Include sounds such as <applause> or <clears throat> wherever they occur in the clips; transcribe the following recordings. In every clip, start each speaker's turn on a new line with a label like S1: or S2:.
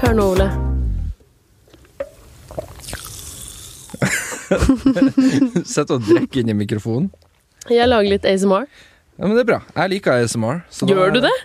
S1: her nå, Ole.
S2: Sett og drekk inn i mikrofonen.
S1: Jeg lager litt ASMR.
S2: Ja, men det er bra. Jeg liker ASMR. så da-
S1: Gjør du det?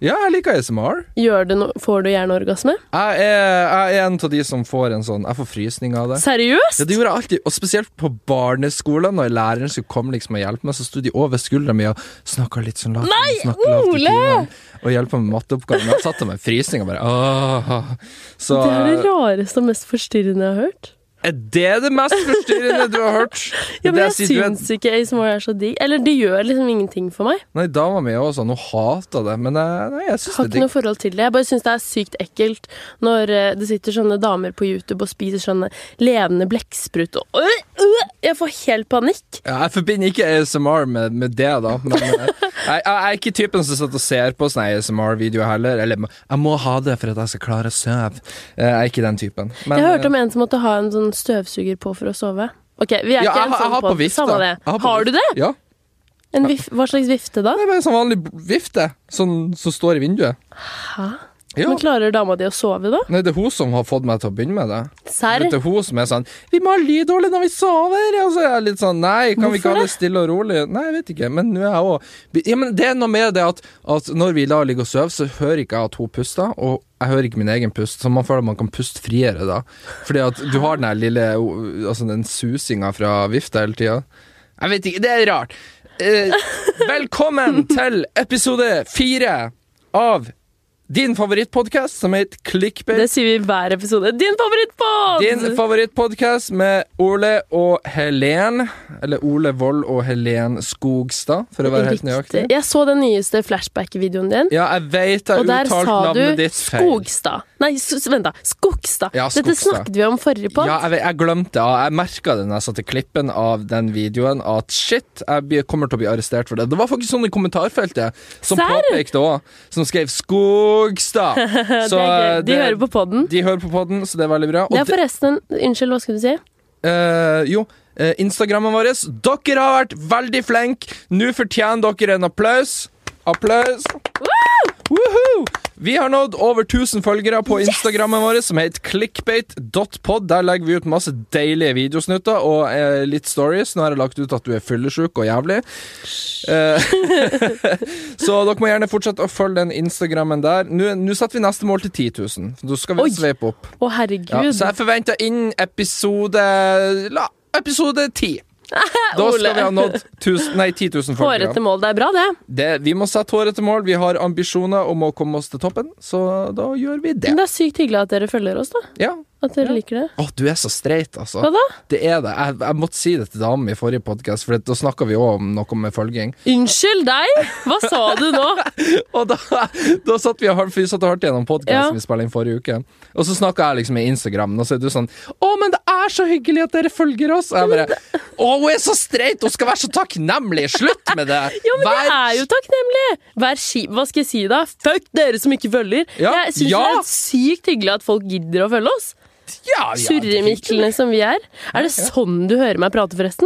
S2: Ja, jeg liker ASMR.
S1: Gjør det no får du hjerneorgasme?
S2: Jeg er, jeg er en av de som får en sånn Jeg får frysning av det. Ja,
S1: Seriøst?
S2: det gjorde jeg alltid, og spesielt på barneskolen, når læreren skulle komme liksom og hjelpe meg, så sto de over skuldra mi og snakka litt sånn lavt.
S1: Nei,
S2: snakket lavt i
S1: Ole!
S2: timen, Og hjelpa med matteoppgaven. Jeg satt der med frysning og bare åh. Så
S1: Det er det rareste og mest forstyrrende jeg har hørt.
S2: er det det mest forstyrrende du har hørt?
S1: Ja, men
S2: Det
S1: jeg
S2: sier du er-
S1: syns ikke ASMR er så digg. Eller det gjør liksom ingenting for meg.
S2: Nei, dama mi er også sånn, hun hater det, men eh, nei, jeg syns
S1: Har ikke
S2: det er digg.
S1: noe forhold til det. Jeg bare syns det er sykt ekkelt når eh, det sitter sånne damer på YouTube og spiser sånne levende blekksprut og Øh, øh, Jeg får helt panikk.
S2: Ja, jeg forbinder ikke ASMR med, med det, da. Men eh, jeg, jeg, jeg er ikke typen som sitter og ser på sånne ASMR-videoer heller. Eller jeg må ha det for at jeg skal klare å sove. Eh, Jeg er ikke den typen. Men, eh,
S1: Jeg hørte om en som måtte ha en sånn støvsuger på for å sove. Ok, vi er
S2: Ja,
S1: ikke
S2: jeg,
S1: en
S2: har- jeg
S1: sånn
S2: har på
S1: podd.
S2: vifte.
S1: Samme det.
S2: Jeg på
S1: Har du
S2: vifte.
S1: det?
S2: eh, Ja.
S1: En vif Hva slags vifte da?
S2: Det er bare en sånn vanlig vifte sånn, som står i vinduet.
S1: Hæ?
S2: Ja.
S1: Men klarer dama di å sove, da?
S2: Nei, det er hun som har fått meg til å begynne med det.
S1: Serr?
S2: Det er hun som er sånn 'Vi må ha lydårlig når vi sover!' Og så er jeg litt sånn Nei, kan vi ikke
S1: Hvorfor
S2: ha det stille og rolig? Nei, jeg vet ikke. Men nå er jeg òg ja, men Det er noe med det at, at når vi da ligger og sover, så hører ikke jeg at hun puster, og jeg hører ikke min egen pust, så man føler at man kan puste friere da. Fordi at du har den der lille Altså den susinga fra vifta hele tida. Jeg vet ikke, det er rart. Eh, velkommen til episode fire av din favorittpodkast, som heter Clickbait
S1: Det sier vi i hver episode. Din favorittpod!
S2: din favorittpodkast med Ole og Helen. Eller Ole Wold og Helen Skogstad, for å være helt nøyaktig.
S1: Jeg så den nyeste flashback-videoen din.
S2: Ja, jeg vet jeg
S1: Og der
S2: uttalte
S1: sa du
S2: navnet ditt feil.
S1: Skogstad. Nei, s- vent, da. Skogstad.
S2: Ja,
S1: Dette
S2: Skogstad.
S1: snakket vi om forrige podd.
S2: Ja, jeg, vet- jeg glemte det. Jeg merka det når jeg satt i klippen av den videoen, at shit, jeg blir- kommer til å bli arrestert for det. Det var faktisk sånn i kommentarfeltet som
S1: Serr?
S2: påpekte òg, som skrev 'Skogstad'.
S1: <laughs> <laughs> det er gøy. De hører på podden.
S2: De hører på podden, så det er veldig bra. Og
S1: Det er
S2: det-
S1: forresten Unnskyld, hva skulle du si?
S2: Eh, jo, eh, Instagrammen vår. Dere har vært veldig flinke. Nå fortjener dere en applaus. Applaus. Woohoo! Vi har nådd over 1000 følgere på Instagrammen vår, som heter clickbait.pod. Der legger vi ut masse deilige videosnutter og eh, litt stories. Nå har jeg lagt ut at du er fyllesyk og jævlig. Eh, <laughs> så dere må gjerne fortsette å følge den Instagrammen der. Nå nå setter vi neste mål til 10 000. Da skal
S1: Oi.
S2: vi sveipe opp.
S1: Å, herregud.
S2: Ja, så jeg forventer innen episode La, episode
S1: <laughs>
S2: ti. Da skal
S1: Ole.
S2: vi ha nådd 1000 nei, 10 000
S1: Hårete
S2: følgere.
S1: mål. Det er bra, det.
S2: Det, vi må sette hårete mål. Vi har ambisjoner om å komme oss til toppen, så da gjør vi det.
S1: Men det er sykt hyggelig at dere følger oss, da.
S2: Ja.
S1: At dere
S2: Ja.
S1: liker det.
S2: Å, du er så streit, altså.
S1: Hva da?
S2: Det er det. Jeg, jeg måtte si det til damen i forrige podkast, for da snakka vi òg om noe med følging.
S1: Unnskyld deg! Hva sa du nå?
S2: Og da, da satt vi og hørte, vi satt og hørte gjennom
S1: Ja.
S2: podkasten vi spilte inn forrige uke. Og så snakka jeg liksom i Instagram, og så er du sånn 'Å, men det er så hyggelig at dere følger oss'. Og jeg bare 'Å, hun er så streit! Hun skal være så takknemlig! Slutt med det!'
S1: <laughs> Ja, men
S2: Vær-
S1: det er jo takknemlig! Vær ski... Hva skal jeg si, da? Fuck dere som ikke følger!
S2: Ja,
S1: Jeg syns
S2: ja.
S1: det er sykt hyggelig at folk gidder å følge oss.
S2: ja, ja,
S1: Surremiklene som vi er. Er det sånn du hører meg prate, forresten?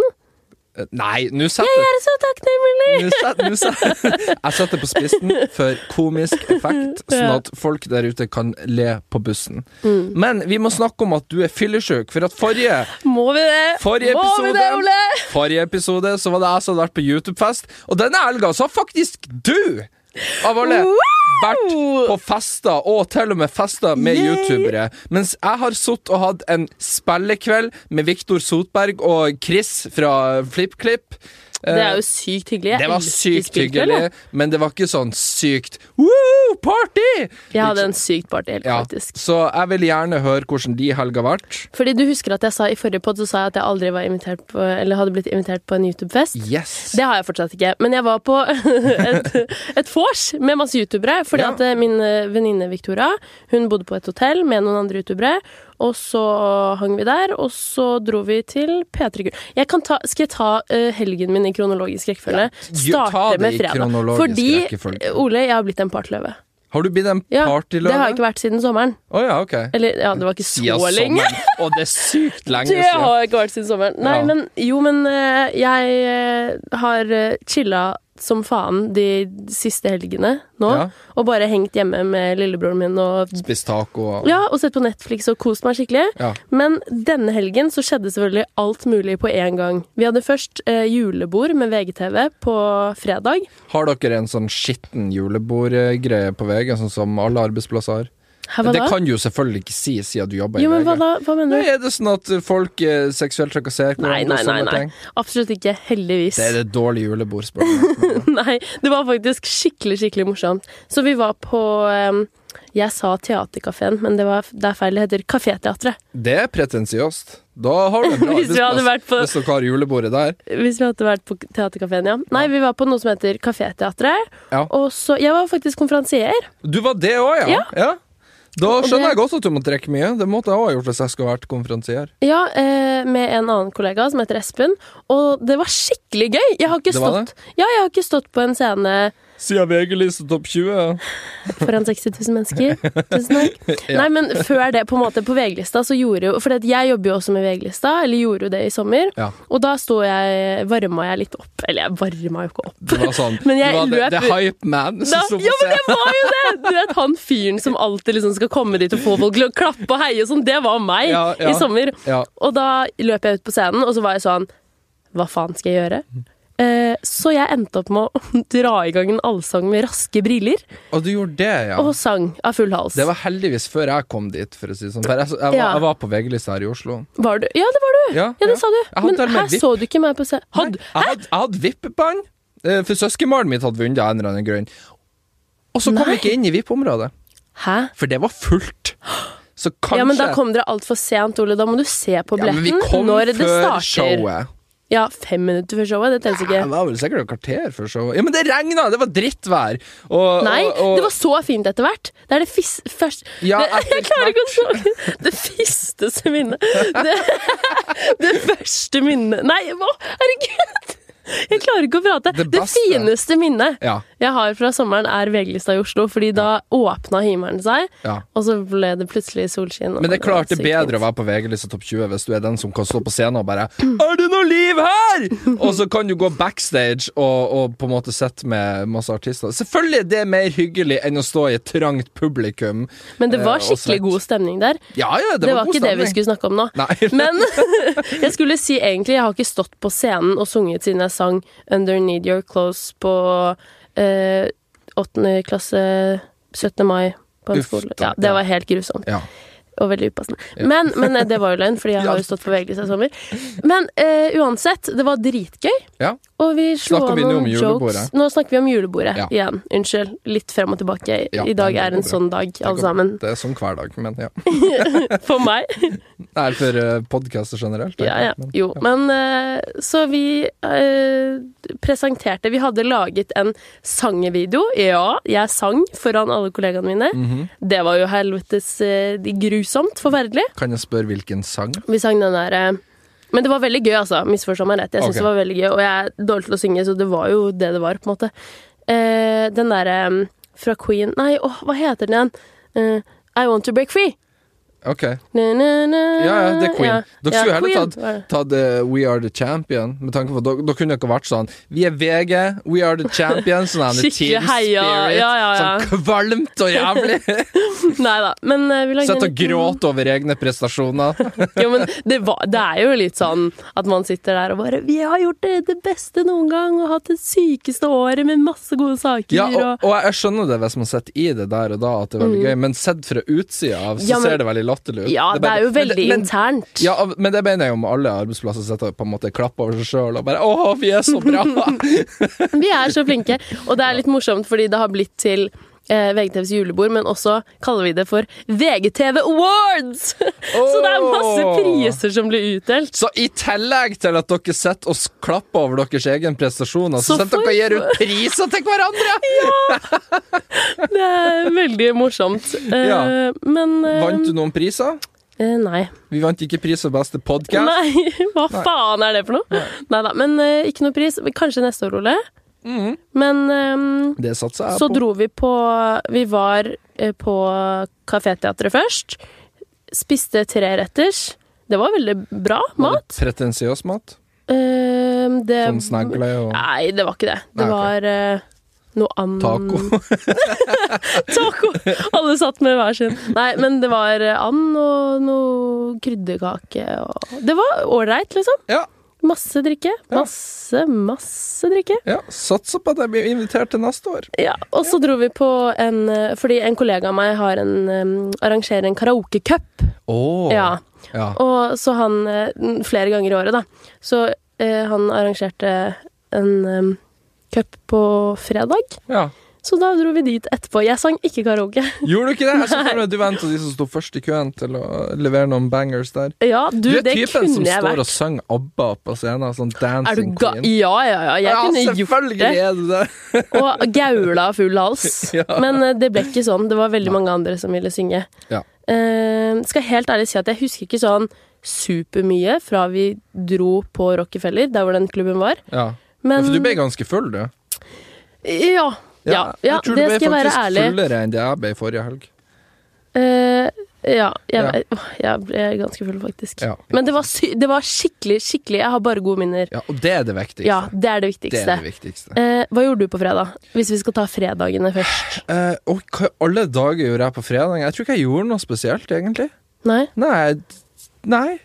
S2: Eh, Nei, nå
S1: Jeg
S2: setter
S1: er så takknemlig!
S2: nå set- nå set- <laughs> Jeg setter på spissen for komisk
S1: <laughs>
S2: effekt, sånn at folk der ute kan le på bussen.
S1: Mm.
S2: Men vi må snakke om at du er fyllesyk, for at forrige
S1: Må vi det?
S2: Forrige
S1: Må vi
S2: episode,
S1: det, Ole?
S2: forrige episode så var det jeg som hadde vært på YouTube-fest, og denne helga så har faktisk du, av alle, vært på fester, og til og med fester med
S1: Yay!
S2: youtubere. Mens jeg har sittet og hatt en spillekveld med Viktor Sotberg og Chris fra FlippKlipp.
S1: Det er jo sykt hyggelig. Jeg
S2: Eh, Det var
S1: elsker
S2: sykt
S1: spillkveld,
S2: hyggelig,
S1: jeg.
S2: men det var ikke sånn sykt Woo, party!
S1: Jeg hadde en sykt party, helt
S2: Ja,
S1: faktisk.
S2: så jeg vil gjerne høre hvordan de helga ble.
S1: Fordi du husker at jeg sa i forrige podd så sa jeg at jeg aldri var invitert på, eller hadde blitt invitert på en YouTube-fest.
S2: Yes.
S1: Det har jeg fortsatt ikke, men jeg var på <laughs> et, et vors med masse youtubere. Fordi
S2: Ja.
S1: at eh, min eh, venninne Victoria hun bodde på et hotell med noen andre youtubere. Og så hang vi der, og så dro vi til P3 Gull. Jeg kan ta, skal jeg ta eh, helgen min i kronologisk rekkefølge?
S2: Gjø- ta
S1: Starte
S2: det
S1: med
S2: i
S1: fredag.
S2: kronologisk
S1: Fordi,
S2: rekkefølge.
S1: eh, Ole, jeg har blitt en partyløve.
S2: Har du blitt en
S1: Ja, det
S2: partyløve?
S1: har jeg ikke vært siden sommeren.
S2: Å ja, ok.
S1: Eller, ja, det var ikke
S2: siden
S1: så lenge.
S2: sommeren. Og det er sykt
S1: <laughs>
S2: lenge
S1: Det
S2: siden.
S1: har jeg ikke vært siden sommeren. Nei,
S2: Ja.
S1: men jo, men eh, jeg eh, har uh, chilla slitt som faen de siste helgene nå.
S2: Ja.
S1: Og bare hengt hjemme med lillebroren min og
S2: Spist taco og
S1: ja, og sett på Netflix og kost meg skikkelig.
S2: Ja.
S1: Men denne helgen så skjedde selvfølgelig alt mulig på én gang. Vi hadde først eh, julebord med VGTV på fredag.
S2: Har dere en sånn skitten julebordgreie på VG, sånn som alle arbeidsplasser har?
S1: Hæ, hva
S2: det
S1: da?
S2: kan du jo selvfølgelig ikke si, siden du jobber
S1: Jo,
S2: i
S1: men
S2: VG.
S1: hva da? Hva
S2: Nei,
S1: mener du?
S2: er det sånn at folk eh, seksuelt trakasserer
S1: Nei, nei,
S2: hverandre og
S1: nei.
S2: sånne
S1: nei.
S2: ting?
S1: Absolutt ikke. Heldigvis.
S2: Det er det
S1: <laughs>
S2: dårlige julebordspråket.
S1: Nei, det var faktisk skikkelig, skikkelig morsomt. Så vi var på eh, Jeg sa Theatercaféen, men det, var, det er feil. Det heter Kaféteatret.
S2: det er pretensiøst. Da har du en bra
S1: Hvis vi hadde
S2: arbeidsplass.
S1: vært på
S2: Hvis dere har julebordet der.
S1: Hvis vi hadde vært på Theatercaféen, ja. Nei, vi var på noe som heter Kaféteatret.
S2: Ja.
S1: Og så Jeg var faktisk konferansier.
S2: Du var det òg, ja.
S1: Ja.
S2: ja? Da
S1: Og
S2: skjønner
S1: det-
S2: jeg godt at du må trekke mye. Det måtte jeg òg ha gjort hvis jeg skulle vært konferansier.
S1: Ja, eh, med en annen kollega som heter Espen. Og det var skikkelig gøy! Jeg har ikke
S2: Det var
S1: stått, ja, jeg har ikke stått på en scene
S2: Siden VG-lista topp 20.
S1: foran 60 000
S2: <laughs>
S1: mennesker. Tusen takk.
S2: Ja.
S1: Nei, men før det, på en måte, på VG-lista, så gjorde jo For det at jeg jobber jo også med VG-lista, eller gjorde jo det i sommer.
S2: Ja.
S1: Og da sto jeg Varma jeg litt opp. Eller jeg varma jo ikke opp.
S2: Det var sånn.
S1: <laughs> Men jeg
S2: det var
S1: løp-
S2: det, det hype <laughs> man
S1: Da,
S2: som sto
S1: ja,
S2: på
S1: men det
S2: scenen.
S1: var jo det! Du vet han fyren som alltid liksom skal komme dit og få folk til å klappe og heie og sånn. Det var meg
S2: Ja,
S1: i
S2: ja.
S1: sommer.
S2: Ja.
S1: Og da løp jeg ut på scenen, og så var jeg sånn Hva faen skal jeg gjøre? Eh, så jeg endte opp med å <laughs> dra i gang en allsang med raske briller,
S2: Og du gjorde det, ja.
S1: og sang av full hals.
S2: Det var heldigvis før jeg kom dit, for å si det sånn. For Jeg, jeg, var,
S1: Ja.
S2: jeg var på VG-lista her i Oslo.
S1: Var du? Ja, det var du!
S2: Ja,
S1: Ja, det
S2: ja.
S1: sa du.
S2: Jeg hadde
S1: Men
S2: til og med
S1: her
S2: vipp.
S1: så du ikke meg på scenen. Hadde
S2: Jeg hadde, jeg hadde vippebånd, eh, for søskenbarnet mitt hadde vunnet av en eller annen grunn. Og så kom
S1: Nei.
S2: vi ikke inn i VIP-området,
S1: Hæ?
S2: for det var fullt. Så
S1: <gasps>
S2: kanskje
S1: Ja, men da kom dere altfor sent, Ole. Da må du se på
S2: Ja, men vi
S1: billetten
S2: kom
S1: når det
S2: før
S1: starter.
S2: showet.
S1: Ja, fem minutter før showet. Det telles ikke.
S2: Det var vel sikkert et kvarter før showet. Ja, men det regna! Det var drittvær. Og,
S1: Nei,
S2: og, og,
S1: det var så fint etter hvert. Det er det fis... Først
S2: Ja,
S1: det,
S2: etter
S1: Jeg klarer ikke å snakke. Det fisteste minnet. Det, <laughs> det første minnet Nei, hva? Herregud! Jeg klarer ikke å prate.
S2: Det
S1: Det,
S2: beste.
S1: fineste minnet
S2: Ja.
S1: jeg har fra sommeren, er VG-lista i Oslo. Fordi da åpna himmelen seg,
S2: Ja.
S1: og så ble det plutselig solskinn. og
S2: Men det er
S1: var
S2: klart det er
S1: sykt fint.
S2: bedre å være på VG-lista topp 20 hvis du er den som kan stå på scenen og bare 'Er det noe liv her?!' Og så kan du gå backstage og, og på en måte sitte med masse artister. Selvfølgelig er det mer hyggelig enn å stå i et trangt publikum.
S1: Men det
S2: eh,
S1: var
S2: og
S1: skikkelig
S2: svett.
S1: god stemning der.
S2: Ja, ja, det,
S1: Det var
S2: god
S1: ikke det vi
S2: stemning.
S1: skulle snakke om nå.
S2: Nei.
S1: <laughs> Men <laughs> jeg skulle si egentlig Jeg har ikke stått på scenen og sunget siden jeg sang Under Need Your Clothes på eh, 8. klasse 17. mai på en
S2: Uff,
S1: skole.
S2: da.
S1: Ja, det var helt grusomt
S2: Ja.
S1: og veldig upassende. Men, men eh, det var jo løgn, fordi
S2: <laughs>
S1: jeg har jo stått på VG i sommer. Men eh, uansett, det var dritgøy.
S2: Ja.
S1: Og vi slo
S2: Snakker
S1: av
S2: vi nå om
S1: noen jokes.
S2: julebordet?
S1: Nå snakker vi om julebordet
S2: Ja.
S1: igjen. Unnskyld. Litt frem og tilbake.
S2: Ja,
S1: I dag
S2: det
S1: er
S2: går
S1: en
S2: bra.
S1: sånn dag,
S2: går
S1: alle sammen.
S2: Det er sånn hver dag, men ja.
S1: For meg.
S2: Nei, for uh, podkaster generelt. tenker
S1: Ja, ja.
S2: jeg, men-
S1: Jo, men eh, Så vi eh, presenterte Vi hadde laget en sangevideo. Ja, jeg sang foran alle kollegaene mine.
S2: Mhm.
S1: Det var jo helvetes eh, grusomt. Forferdelig.
S2: Kan jeg spørre hvilken sang?
S1: Vi sang den der eh, Men det var veldig gøy, altså. Misforstå meg rett. Jeg syns
S2: Ok.
S1: det var veldig gøy, og jeg er dårlig til å synge, så det var jo det det var, på en måte. Eh, den derre fra Queen Nei, åh, hva heter den igjen? Eh, I Want To Break Free.
S2: Ok,
S1: Na, na, na.
S2: Ja, ja, det er Queen. Dere skulle heller
S1: Queen
S2: tatt-
S1: var det. <laughs>
S2: Ta det We Are The Champion. Med tanke på, Da da kunne dere vært sånn Vi er VG, We Are The Champion. Sånn her
S1: Skikkelig
S2: Team Spirit.
S1: heia, ja, ja, ja.
S2: Sånn kvalmt
S1: <laughs>
S2: og jævlig.
S1: Nei da, men eh, vi lagde
S2: Sett
S1: en
S2: og
S1: liten-
S2: gråte over egne prestasjoner.
S1: Jo, men det, var, det er jo litt sånn at man sitter der og bare Vi har gjort det, det beste noen gang og hatt det sykeste året med masse gode saker.
S2: Ja,
S1: og,
S2: og, og jeg skjønner det hvis man sitter i det der og da, at det er veldig gøy, men sett fra utsida av, så
S1: Mm. Ja, men-
S2: ser det veldig latterlig ut.
S1: ja det,
S2: bare-
S1: er jo
S2: men det-
S1: veldig
S2: men-
S1: internt.
S2: Ja, av- men det mener jeg om alle arbeidsplasser sitter og på en måte klapper over seg sjøl og bare 'Å, vi er så
S1: <laughs>
S2: bra'.
S1: <laughs> Vi er så flinke. Og det er litt morsomt fordi det har blitt til eh, VGTVs julebord, men også kaller vi det for VGTV Awards! <laughs> Så det er masse
S2: Åh.
S1: priser som blir utdelt.
S2: Så i tillegg til at dere sitter og s- klapper over deres egen prestasjoner, så,
S1: Så
S2: sitter dere og gir ut priser til hverandre!
S1: Det er veldig morsomt. Eh,
S2: Ja.
S1: Men eh,
S2: Vant du noen priser?
S1: eh, Nei.
S2: Vi vant ikke pris for beste podkast.
S1: Nei, <laughs> hva faen er det for noe? Nei da, men eh, ikke noe pris. Men Kanskje neste år, Ole. Men ehm,
S2: Det satser jeg
S1: så
S2: Mhm. på.
S1: dro vi på Vi var eh, på Kaféteatret først. Spiste treretters. Det var veldig bra
S2: Var det
S1: mat.
S2: Pretensiøs mat.
S1: Ehm, det
S2: Sånn snegle og
S1: Nei, det var ikke det. Det
S2: Nei, ok.
S1: var eh, noe annet
S2: taco.
S1: Mm. Taco! Alle satt med hver sin. Nei, men det var eh, and og noe krydderkake og Det var ålreit, liksom.
S2: ja,
S1: Masse drikke.
S2: Ja.
S1: Masse, masse drikke.
S2: <laughs> ja. Satser på at jeg blir invitert til neste år.
S1: Ja, og så dro vi på en eh, Fordi en kollega av meg har en, em, arrangerer en karaokecup.
S2: Oh.
S1: Ja.
S2: ja.
S1: Og så han eh, n- Flere ganger i året, da. Så eh, han arrangerte en em, cup på fredag.
S2: ja.
S1: Så da dro vi dit etterpå. Jeg sang ikke karaoke. <laughs>
S2: Gjorde du ikke det? Jeg så for meg at du var en av de som sto først i køen til å levere noen bangers der.
S1: Ja, du,
S2: Du er
S1: det
S2: typen som
S1: kunne jeg
S2: står
S1: vært.
S2: og synger ABBA på scenen.
S1: Er
S2: Sånn
S1: du
S2: dancing
S1: ga
S2: queen.
S1: ja, ja, ja. Jeg
S2: ja,
S1: kunne gjort
S2: selvfølgelig
S1: det.
S2: er du det!
S1: Og gaula full hals.
S2: <laughs> Ja.
S1: Men eh, det ble ikke sånn. Det var veldig mange andre som ville synge.
S2: Ja.
S1: Eh, skal helt ærlig si at jeg husker ikke sånn supermye fra vi dro på Rockefeller, der hvor den klubben var.
S2: Ja.
S1: Men
S2: For du ble ganske full, du.
S1: Ja. Ja, ja
S2: jeg tror
S1: det
S2: du ble
S1: skal jeg være
S2: faktisk
S1: ærlig.
S2: fullere enn det jeg ble forrige helg.
S1: Eh, ja, jeg,
S2: Ja.
S1: åh, jeg ble ganske full, faktisk.
S2: Ja.
S1: Men det var, sy det var skikkelig, skikkelig Jeg har bare gode minner.
S2: Ja, og det er det viktigste.
S1: Ja, det er det
S2: det
S1: viktigste.
S2: er det viktigste.
S1: Eh, hva gjorde du på fredag? Hvis vi skal ta fredagene først.
S2: Eh, og hva i alle dager gjorde jeg på fredag? Jeg tror ikke jeg gjorde noe spesielt, egentlig.
S1: Nei?
S2: Nei. Nei.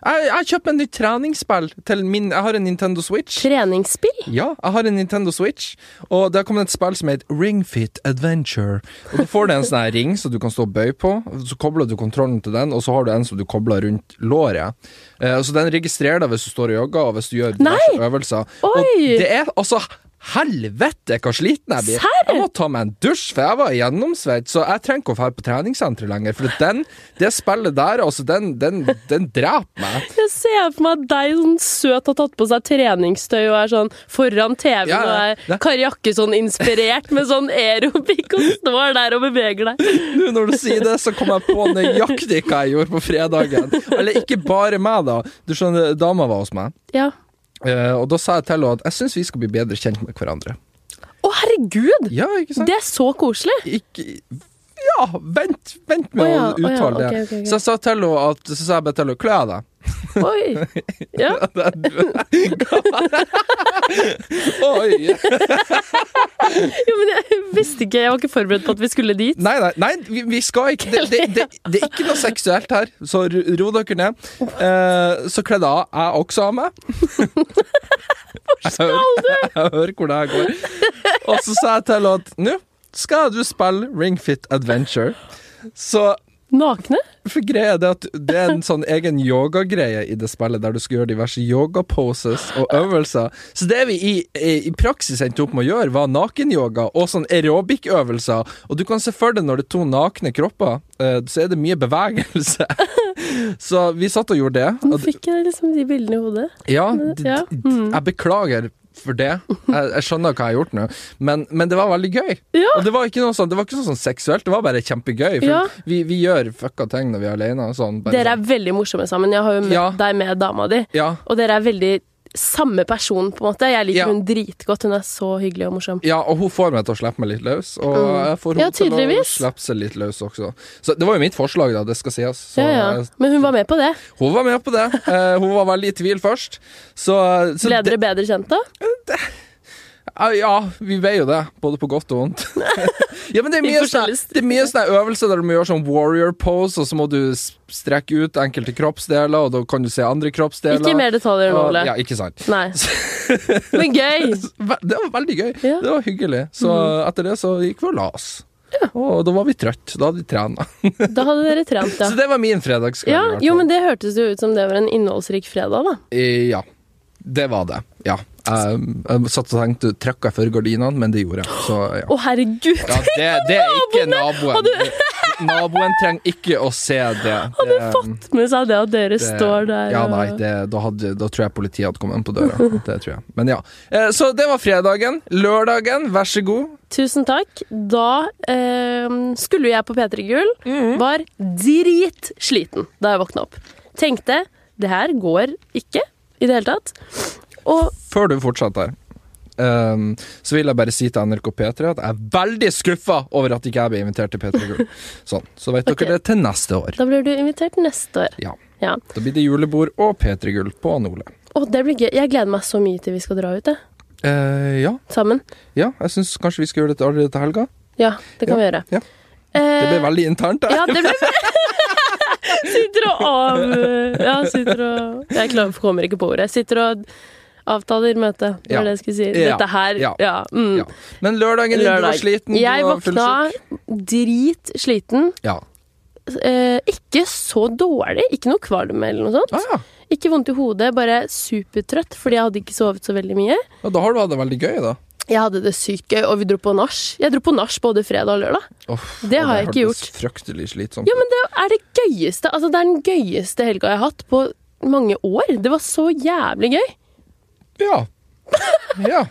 S2: Jeg, jeg kjøpte en ny treningsspill til min Jeg har en Nintendo Switch.
S1: Treningsspill?
S2: Ja, jeg har en Nintendo Switch, og det har kommet et spill som heter Ringfit Adventure. Og Da får du en sånn her ring som du kan stå og bøye på, så kobler du kontrollen til den, og så har du en som du kobler rundt låret. Eh, så den registrerer deg hvis du står og jogger, og hvis du gjør diverse øvelser. Og
S1: Oi!
S2: det er altså Helvete, hva sliten jeg blir!
S1: Serr?
S2: Jeg må ta meg en dusj, for jeg var gjennomsvett, så jeg trenger ikke å dra på treningssenteret lenger. For den, det spillet der, altså, den, den, den dreper meg.
S1: Jeg ser for meg deg sånn søt har tatt på seg treningstøy og er sånn foran TV-en
S2: Ja, ja.
S1: og er Kari Jakkesson inspirert med sånn aerobic og står der og beveger deg.
S2: Nå når du sier det, så kom jeg på nøyaktig hva jeg gjorde på fredagen. Eller ikke bare meg, da. Du skjønner, dama var hos meg,
S1: Ja.
S2: Eh, og da sa jeg til henne at jeg syns vi skal bli bedre kjent med hverandre.
S1: Å, herregud!
S2: Ja, ikke sant?
S1: Det er så koselig!
S2: Ikke Ja, vent, vent med
S1: Å ja,
S2: å
S1: å ja,
S2: uttale det.
S1: ok, ok, ok.
S2: Så jeg sa til henne at Så sa jeg bare til henne kle av deg.
S1: Oi! Ja.
S2: <laughs> Oi!
S1: Jo, men jeg visste ikke, jeg var ikke forberedt på at vi skulle dit.
S2: Nei, nei, nei vi, vi skal ikke det, det, det, det er ikke noe seksuelt her, så ro ro dere ned. Eh, så kledde jeg av jeg også av meg. Hvor skal du? <laughs> Jeg hører hvor det her går. Og så sa jeg til henne at nå skal du spille Ringfit Adventure. Så
S1: Nakne?
S2: for greia er det at det er en sånn egen yogagreie i det spillet, der du skal gjøre diverse yogaposes og øvelser. Så det vi i, i, i praksis endte opp med å gjøre, var nakenyoga og sånn aerobic-øvelser. Og du kan se for deg når det er to nakne kropper, eh, så er det mye bevegelse. <laughs> Så vi satt og gjorde det.
S1: Nå
S2: Og,
S1: fikk jeg liksom de bildene i hodet.
S2: ja, d-
S1: Ja,
S2: d- jeg beklager for det. Jeg, jeg skjønner hva jeg har gjort nå, men, men det var veldig gøy.
S1: Ja.
S2: Og det var ikke noe sånn, det var ikke noe sånn seksuelt, det var bare kjempegøy. For
S1: Ja.
S2: vi, vi gjør fucka ting når vi er alene. og Sånn, bare
S1: Dere er veldig morsomme sammen. Jeg har jo møtt
S2: Ja.
S1: deg med dama di,
S2: sånn. Ja.
S1: og dere er veldig samme person, på en måte. Jeg liker
S2: Ja.
S1: hun dritgodt. Hun er så hyggelig og morsom.
S2: Ja, og hun får meg til å slippe meg litt løs, og
S1: Mm.
S2: jeg får
S1: Ja,
S2: henne til å
S1: tydeligvis.
S2: slippe seg litt løs også. Så det var jo mitt forslag, da, det skal sies. Så,
S1: Ja, ja.
S2: eh,
S1: Men hun var med på det.
S2: Hun var med på det. Eh, hun var veldig i tvil først. Så, så
S1: Ble
S2: det-
S1: dere bedre kjent da?
S2: Ja, Ja, vi veier jo det, både på godt og
S1: <laughs>
S2: vondt. ja, men det er
S1: I
S2: mye sånn
S1: forskjellige
S2: Det er mye sånne øvelser der du må gjøre sånn warrior pose, og så må du s- strekke ut enkelte kroppsdeler, og da kan du se andre kroppsdeler.
S1: Ikke mer detaljer nå,
S2: Og-
S1: Ole.
S2: Ja, ikke sant. <laughs>
S1: Nei. Men gøy!
S2: Ve- Det var veldig gøy.
S1: Ja. Mm.
S2: Det var hyggelig. Så etter det så gikk vi og la oss. Og da var vi trøtt Da hadde vi trena.
S1: Da hadde dere trent,
S2: Så
S1: ja.
S2: det var min fredagskveld.
S1: ja
S2: i hvert
S1: jo,
S2: fall.
S1: men det hørtes jo ut som det var en innholdsrik fredag, da.
S2: Eh, ja. Det var det. Ja. Jeg, jeg satt og tenkte trakk jeg for gardinene, men det gjorde jeg. Så ja.
S1: Å, herregud!
S2: ja det, det
S1: <laughs>
S2: er ikke naboen.
S1: Hadde-
S2: Det- <laughs> Naboen trenger ikke å se det. Hadde fått
S1: Med seg det at dere står der
S2: Ja,
S1: og
S2: nei, det, da, hadde, da tror jeg politiet hadde kommet inn på døra. Det tror jeg. Men ja. Eh, Så det var fredagen. Lørdagen, vær så god.
S1: Tusen takk. Da ehm, skulle jeg på P3 Gull. Var dritsliten da jeg våkna opp. Tenkte det her går ikke i det hele tatt. Og
S2: Før du fortsetter, ehm, så vil jeg bare si til NRK P3 at jeg er veldig skuffa over at ikke jeg ble invitert til P3
S1: <laughs>
S2: Gull. Sånn, så vet
S1: Ok.
S2: dere det til neste år.
S1: da blir du invitert neste år.
S2: Ja.
S1: Ja.
S2: Da blir det julebord og P3 Gull på Nole.
S1: Å, det blir gøy. Jeg gleder meg så mye til vi skal dra ut, jeg.
S2: Eh, ja.
S1: Sammen.
S2: ja, jeg syns kanskje vi skal gjøre dette allerede til helga.
S1: Ja, det kan vi gjøre.
S2: ja.
S1: Eh,
S2: Det ble veldig internt.
S1: Ja,
S2: Der.
S1: det ble <laughs> Sitter og av... Ja, sitter og Jeg klarer, kommer ikke på ordet. Sitter og avtaler møte. Det var
S2: Ja.
S1: det jeg skulle si.
S2: Ja.
S1: Dette her
S2: Ja.
S1: Ja. mm.
S2: Ja. Men lørdagen din, du var
S1: Lørdag.
S2: sliten. du
S1: Jeg
S2: var
S1: våkna
S2: fullsjuk.
S1: dritsliten.
S2: Ja.
S1: Eh, ikke så dårlig. Ikke noe kvalm eller noe sånt.
S2: Ah, ja.
S1: Ikke vondt i hodet, bare supertrøtt, fordi jeg hadde ikke sovet så veldig mye.
S2: ja, da har du hatt det veldig gøy, da.
S1: Jeg hadde det sykt gøy, og vi dro på nach. Jeg dro på nach både fredag og lørdag.
S2: Uff,
S1: Det har jeg ikke
S2: hørtes Fryktelig slitsomt.
S1: Ja, men det er det gøyeste Altså, det er den gøyeste helga jeg har hatt på mange år. Det var så jævlig gøy.
S2: ut. Ja. ja.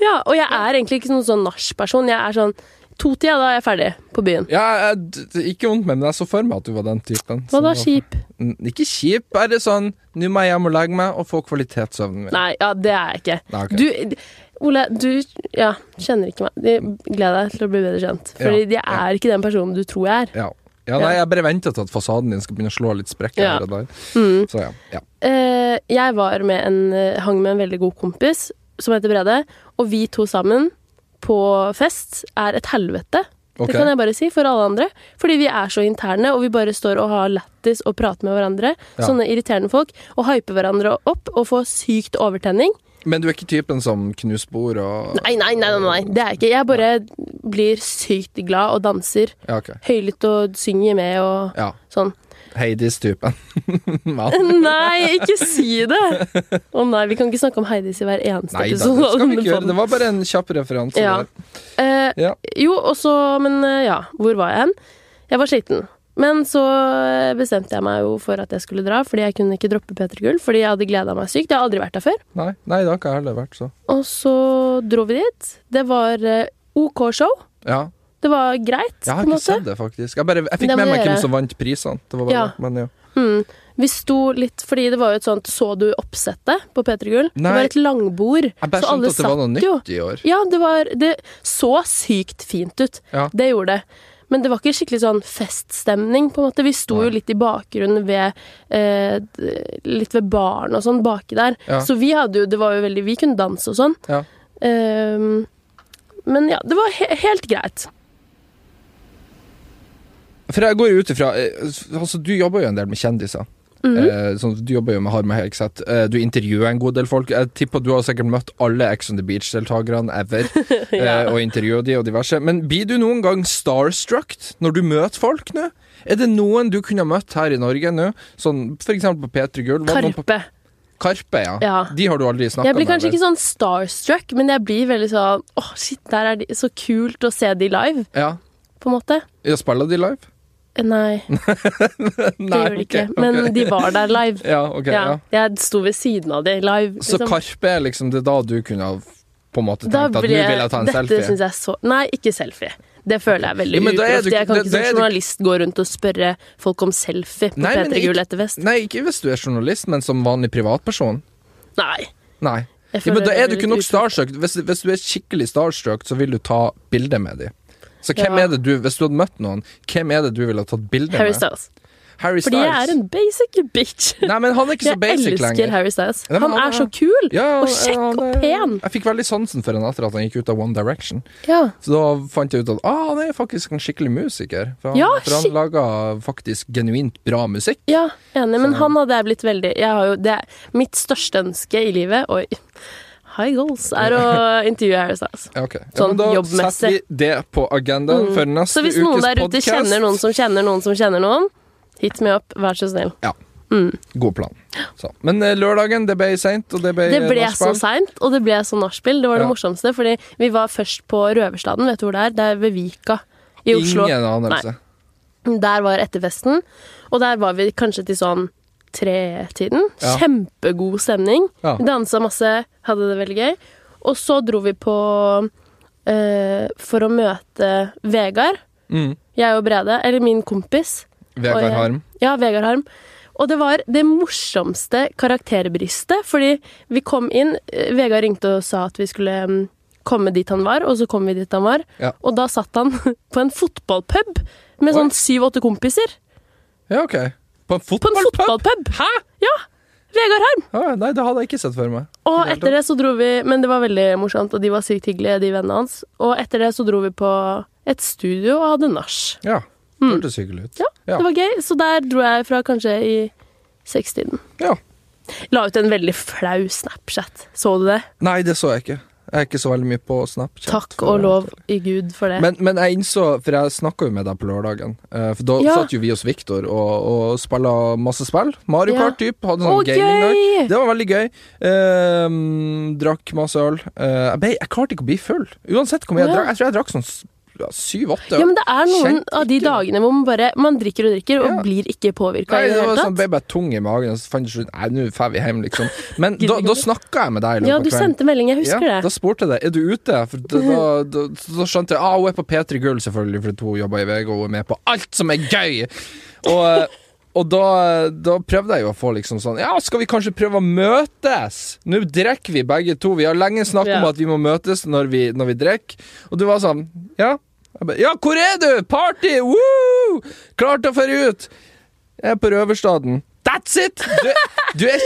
S1: Ja, og jeg er egentlig ikke noen sånn nachperson. Jeg er sånn to-tida, da er jeg ferdig på byen.
S2: Ja, jeg, det er ikke vondt med, men jeg så for meg at du var den typen.
S1: Hva
S2: som
S1: da,
S2: var-
S1: skip?
S2: Mm, Ikke kjip, bare sånn Nå må jeg hjem og legge meg og få kvalitetssøvnen min.
S1: Nei, ja, det er jeg ikke.
S2: Nei, ok.
S1: Du Ole, du ja, kjenner ikke meg. Jeg Gleder deg til å bli bedre kjent. Fordi jeg
S2: ja.
S1: er ikke den personen du tror jeg er.
S2: Ja. ja, nei, jeg bare venter til at fasaden din skal begynne å slå litt sprekker
S1: Ja.
S2: her og der.
S1: Mm.
S2: Så ja. ja.
S1: Eh, jeg var med en, eh, hang med en veldig god kompis som heter Brede, og vi to sammen på fest er et helvete.
S2: Ok.
S1: Det kan jeg bare si for alle andre. Fordi vi er så interne, og vi bare står og har lættis og prater med hverandre.
S2: Ja.
S1: Sånne irriterende folk. Og hyper hverandre opp og får sykt overtenning.
S2: Men du er ikke typen som knuser bord og
S1: Nei, nei, nei, nei, nei. det er jeg ikke Jeg bare blir sykt glad og danser
S2: Ja, ok.
S1: høylytt og synger med og
S2: Ja.
S1: sånn. <laughs>
S2: Heidis-typen. <laughs> Hva?
S1: Nei, ikke si det! Å nei, vi kan ikke snakke om Heidis i hver eneste
S2: Nei da, det
S1: episode. av
S2: skal vi
S1: denne
S2: ikke gjøre.
S1: podden.
S2: Det var bare en kjapp referanse.
S1: Ja.
S2: der.
S1: Eh,
S2: Ja.
S1: Jo, og så Men eh, ja, hvor var jeg hen? Jeg var sliten. Men så eh, bestemte jeg meg jo for at jeg skulle dra, fordi jeg kunne ikke droppe P3 Gull. Fordi jeg hadde gleda meg sykt. Jeg har aldri vært der før.
S2: Nei, nei, det har ikke jeg heller vært, så.
S1: Og så dro vi dit. Det var eh, OK show.
S2: Ja.
S1: Det var greit,
S2: Jeg
S1: på
S2: har
S1: en
S2: ikke
S1: måte.
S2: sett det, faktisk. Jeg, bare, jeg fikk
S1: Det må
S2: med meg
S1: dere
S2: hvem
S1: gjøre.
S2: som vant prisene. Det var bare
S1: Ja.
S2: det, men ja.
S1: Mm. Vi sto litt Fordi det var jo et sånt Så du oppsettet på P3 Gull? Det
S2: Nei.
S1: var et langbord.
S2: Jeg bare
S1: så alle
S2: skjønte at det var noe
S1: satt
S2: nytt
S1: jo.
S2: i år.
S1: Ja, det var Det så sykt fint ut.
S2: Ja.
S1: Det gjorde det. Men det var ikke skikkelig sånn feststemning, på en måte. Vi sto
S2: Nei.
S1: jo litt i bakgrunnen ved eh, d- Litt ved baren og sånn baki der.
S2: Ja.
S1: Så vi hadde jo Det var jo veldig Vi kunne danse og sånn.
S2: Ja.
S1: Ehm, men ja, det var he helt greit.
S2: For jeg går jo ut ifra eh, Altså, du jobber jo en del med kjendiser.
S1: Mm.
S2: Eh, sånn, du jobber jo med Harme Hegseth. Eh, du intervjuer en god del folk. Jeg tipper du har sikkert møtt alle Ex on the Beach-deltakerne ever.
S1: <laughs> Ja.
S2: eh, og intervjuer de og diverse. Men blir du noen gang starstruck når du møter folk nå? Er det noen du kunne ha møtt her i Norge nå? Sånn for eksempel på P3 Gull. Var det noen på
S1: Karpe.
S2: Karpe, ja.
S1: Ja.
S2: De har du aldri snakka med?
S1: Jeg blir kanskje
S2: eller?
S1: ikke sånn starstruck, men jeg blir veldig sånn Åh, shit, der er de Så kult å se de live,
S2: Ja.
S1: på en måte.
S2: Ja, Spiller de live? <laughs>
S1: Eh, Nei, det gjør de ikke.
S2: ok, ok.
S1: Men de var der live.
S2: Ja, ok, ja.
S1: Ja, jeg sto ved siden av de live.
S2: Så
S1: liksom.
S2: Karpe er liksom det er da du kunne ha på en måte
S1: Da
S2: tenkt at nå
S1: ble-
S2: vil jeg ta en
S1: dette
S2: selfie?
S1: synes jeg så Nei, ikke selfie. Det føler jeg er veldig
S2: Ja, men da er
S1: uproft.
S2: du ikke-
S1: Jeg kan
S2: da-
S1: ikke
S2: da er
S1: som
S2: du-
S1: journalist gå rundt og spørre folk om selfie på
S2: Nei, men
S1: P3 Gull
S2: ikke-
S1: etter fest.
S2: Nei, ikke hvis du er journalist, men som vanlig privatperson.
S1: Nei.
S2: Nei.
S1: jeg
S2: Ja,
S1: føler
S2: men da
S1: det
S2: er du
S1: blir
S2: ikke
S1: litt
S2: nok
S1: uproft.
S2: starstruck. Hvis, hvis du er skikkelig starstruck, så vil du ta bilde med dem. Så hvem
S1: Ja.
S2: er det du, hvis du hadde møtt noen, hvem er det du ville ha tatt bilde
S1: Harry
S2: med?
S1: Styles.
S2: Harry
S1: Fordi jeg er en basic bitch.
S2: <laughs> Nei, men han er ikke
S1: Jeg
S2: så basic
S1: elsker
S2: lenger.
S1: Harry Styles.
S2: Nei, men
S1: Han
S2: han
S1: er
S2: er-
S1: så kul
S2: Ja,
S1: og kjekk
S2: ja,
S1: og
S2: det-
S1: pen.
S2: Jeg fikk veldig sansen for han etter at han gikk ut av One Direction.
S1: Ja.
S2: Så da fant jeg ut at ah, han er faktisk en skikkelig musiker. For han,
S1: Ja,
S2: for han
S1: skik-
S2: laga faktisk genuint bra musikk.
S1: Ja, enig, men han hadde jeg blitt veldig jeg har jo, det, er- Mitt største ønske i livet Oi, high goals Er å intervjue Harry Styles
S2: Ja, ok.
S1: Sånn
S2: ja, men da
S1: jobbmessig. Mm.
S2: setter vi det på agendaen for neste
S1: Så hvis
S2: ukes
S1: noen der ute
S2: podcast.
S1: kjenner noen som kjenner noen som kjenner noen Hit meg opp, vær så snill
S2: God plan. Så. Men eh, lørdagen, det ble seint, og det ble,
S1: Det ble
S2: nachspiel.
S1: så sent, og det ble så narspill Det var det
S2: Ja.
S1: morsomste, fordi vi var først på Røverstaden Vet du hvor det er? Det er ved Vika i Oslo
S2: Ingen anelse.
S1: Der var etterfesten Og der var vi kanskje til sånn tre-tiden.
S2: Ja.
S1: Kjempegod stemning.
S2: Ja.
S1: Vi Dansa masse, hadde det veldig gøy. Og så dro vi på eh, for å møte Vegard.
S2: Mm.
S1: Jeg og Brede, eller min kompis. Og
S2: Vegard
S1: jeg-
S2: Harm.
S1: Ja, Vegard Harm. Og det var det morsomste karakterbristet, fordi vi kom inn eh, Vegard ringte og sa at vi skulle mm, komme dit han var, og så kom vi dit han var.
S2: Ja.
S1: Og da satt han <laughs> på en fotballpub med
S2: Oi.
S1: sånn syv-åtte kompiser.
S2: Ja, ok. På
S1: På
S2: en
S1: en
S2: fotballpub?
S1: fotballpub! Hæ? Ja. Vegard Harm!
S2: Ah, nei, det hadde jeg ikke sett for meg.
S1: Og
S2: hele
S1: etter det så dro vi Men det var veldig morsomt, og de var sykt hyggelige, de vennene hans. Og etter det så dro vi på et studio og hadde nach.
S2: Ja, det
S1: Mm.
S2: hørtes hyggelig ut.
S1: Ja,
S2: Ja.
S1: det var gøy. Så der dro jeg fra kanskje i sekstiden.
S2: Ja.
S1: La ut en veldig flau Snapchat. Så du det?
S2: Nei, det så jeg ikke. Jeg er ikke så veldig mye på Snapchat.
S1: Takk og lov i Gud for det.
S2: Men, men jeg innså, for jeg snakka jo med deg på lørdagen eh, For Da
S1: Ja.
S2: satt jo vi hos Viktor og, og spilla masse spill. Mario
S1: Ja.
S2: Kart typ, hadde
S1: Å,
S2: sånn gaming der.
S1: gøy!
S2: Det var veldig gøy. Ehm, drakk masse øl. Eh, jeg, ble, jeg klarte ikke å bli full. Uansett hvor mye jeg
S1: Ja.
S2: drakk. Jeg tror jeg drakk sånn s- ja, syv-åtte.
S1: Ja, men det er noen
S2: Kjent
S1: av de
S2: ikke.
S1: dagene hvor man bare Man drikker og drikker og
S2: Ja.
S1: blir ikke påvirka
S2: Nei,
S1: i det
S2: det
S1: hele
S2: var sånn,
S1: tatt.
S2: ble bare tung i magen, og så fant jeg slutt Nei, nå drar vi hjem, liksom. Men
S1: Gidder
S2: da,
S1: ikke
S2: da
S1: mer.
S2: snakka jeg med deg i løpet
S1: Ja,
S2: av
S1: du
S2: kvelden.
S1: sendte melding, jeg husker
S2: Ja, da
S1: det.
S2: spurte jeg deg Er du ute. For da, da, da, da skjønte jeg ah, hun er på P3 Gull, selvfølgelig, fordi hun jobber i VG og hun er med på alt som er gøy. Og, eh, og da, da prøvde jeg jo å få liksom sånn Ja, skal vi kanskje prøve å møtes? Nå drikker vi begge to. Vi har lenge snakket om
S1: Ja.
S2: at vi må møtes når vi, når vi drikker. Og du var sånn Ja. Jeg ba, ja, hvor er du? Party! Woo! Klart å fære ut! Jeg er på Røverstaden. That's it! Du,
S1: <laughs>
S2: du er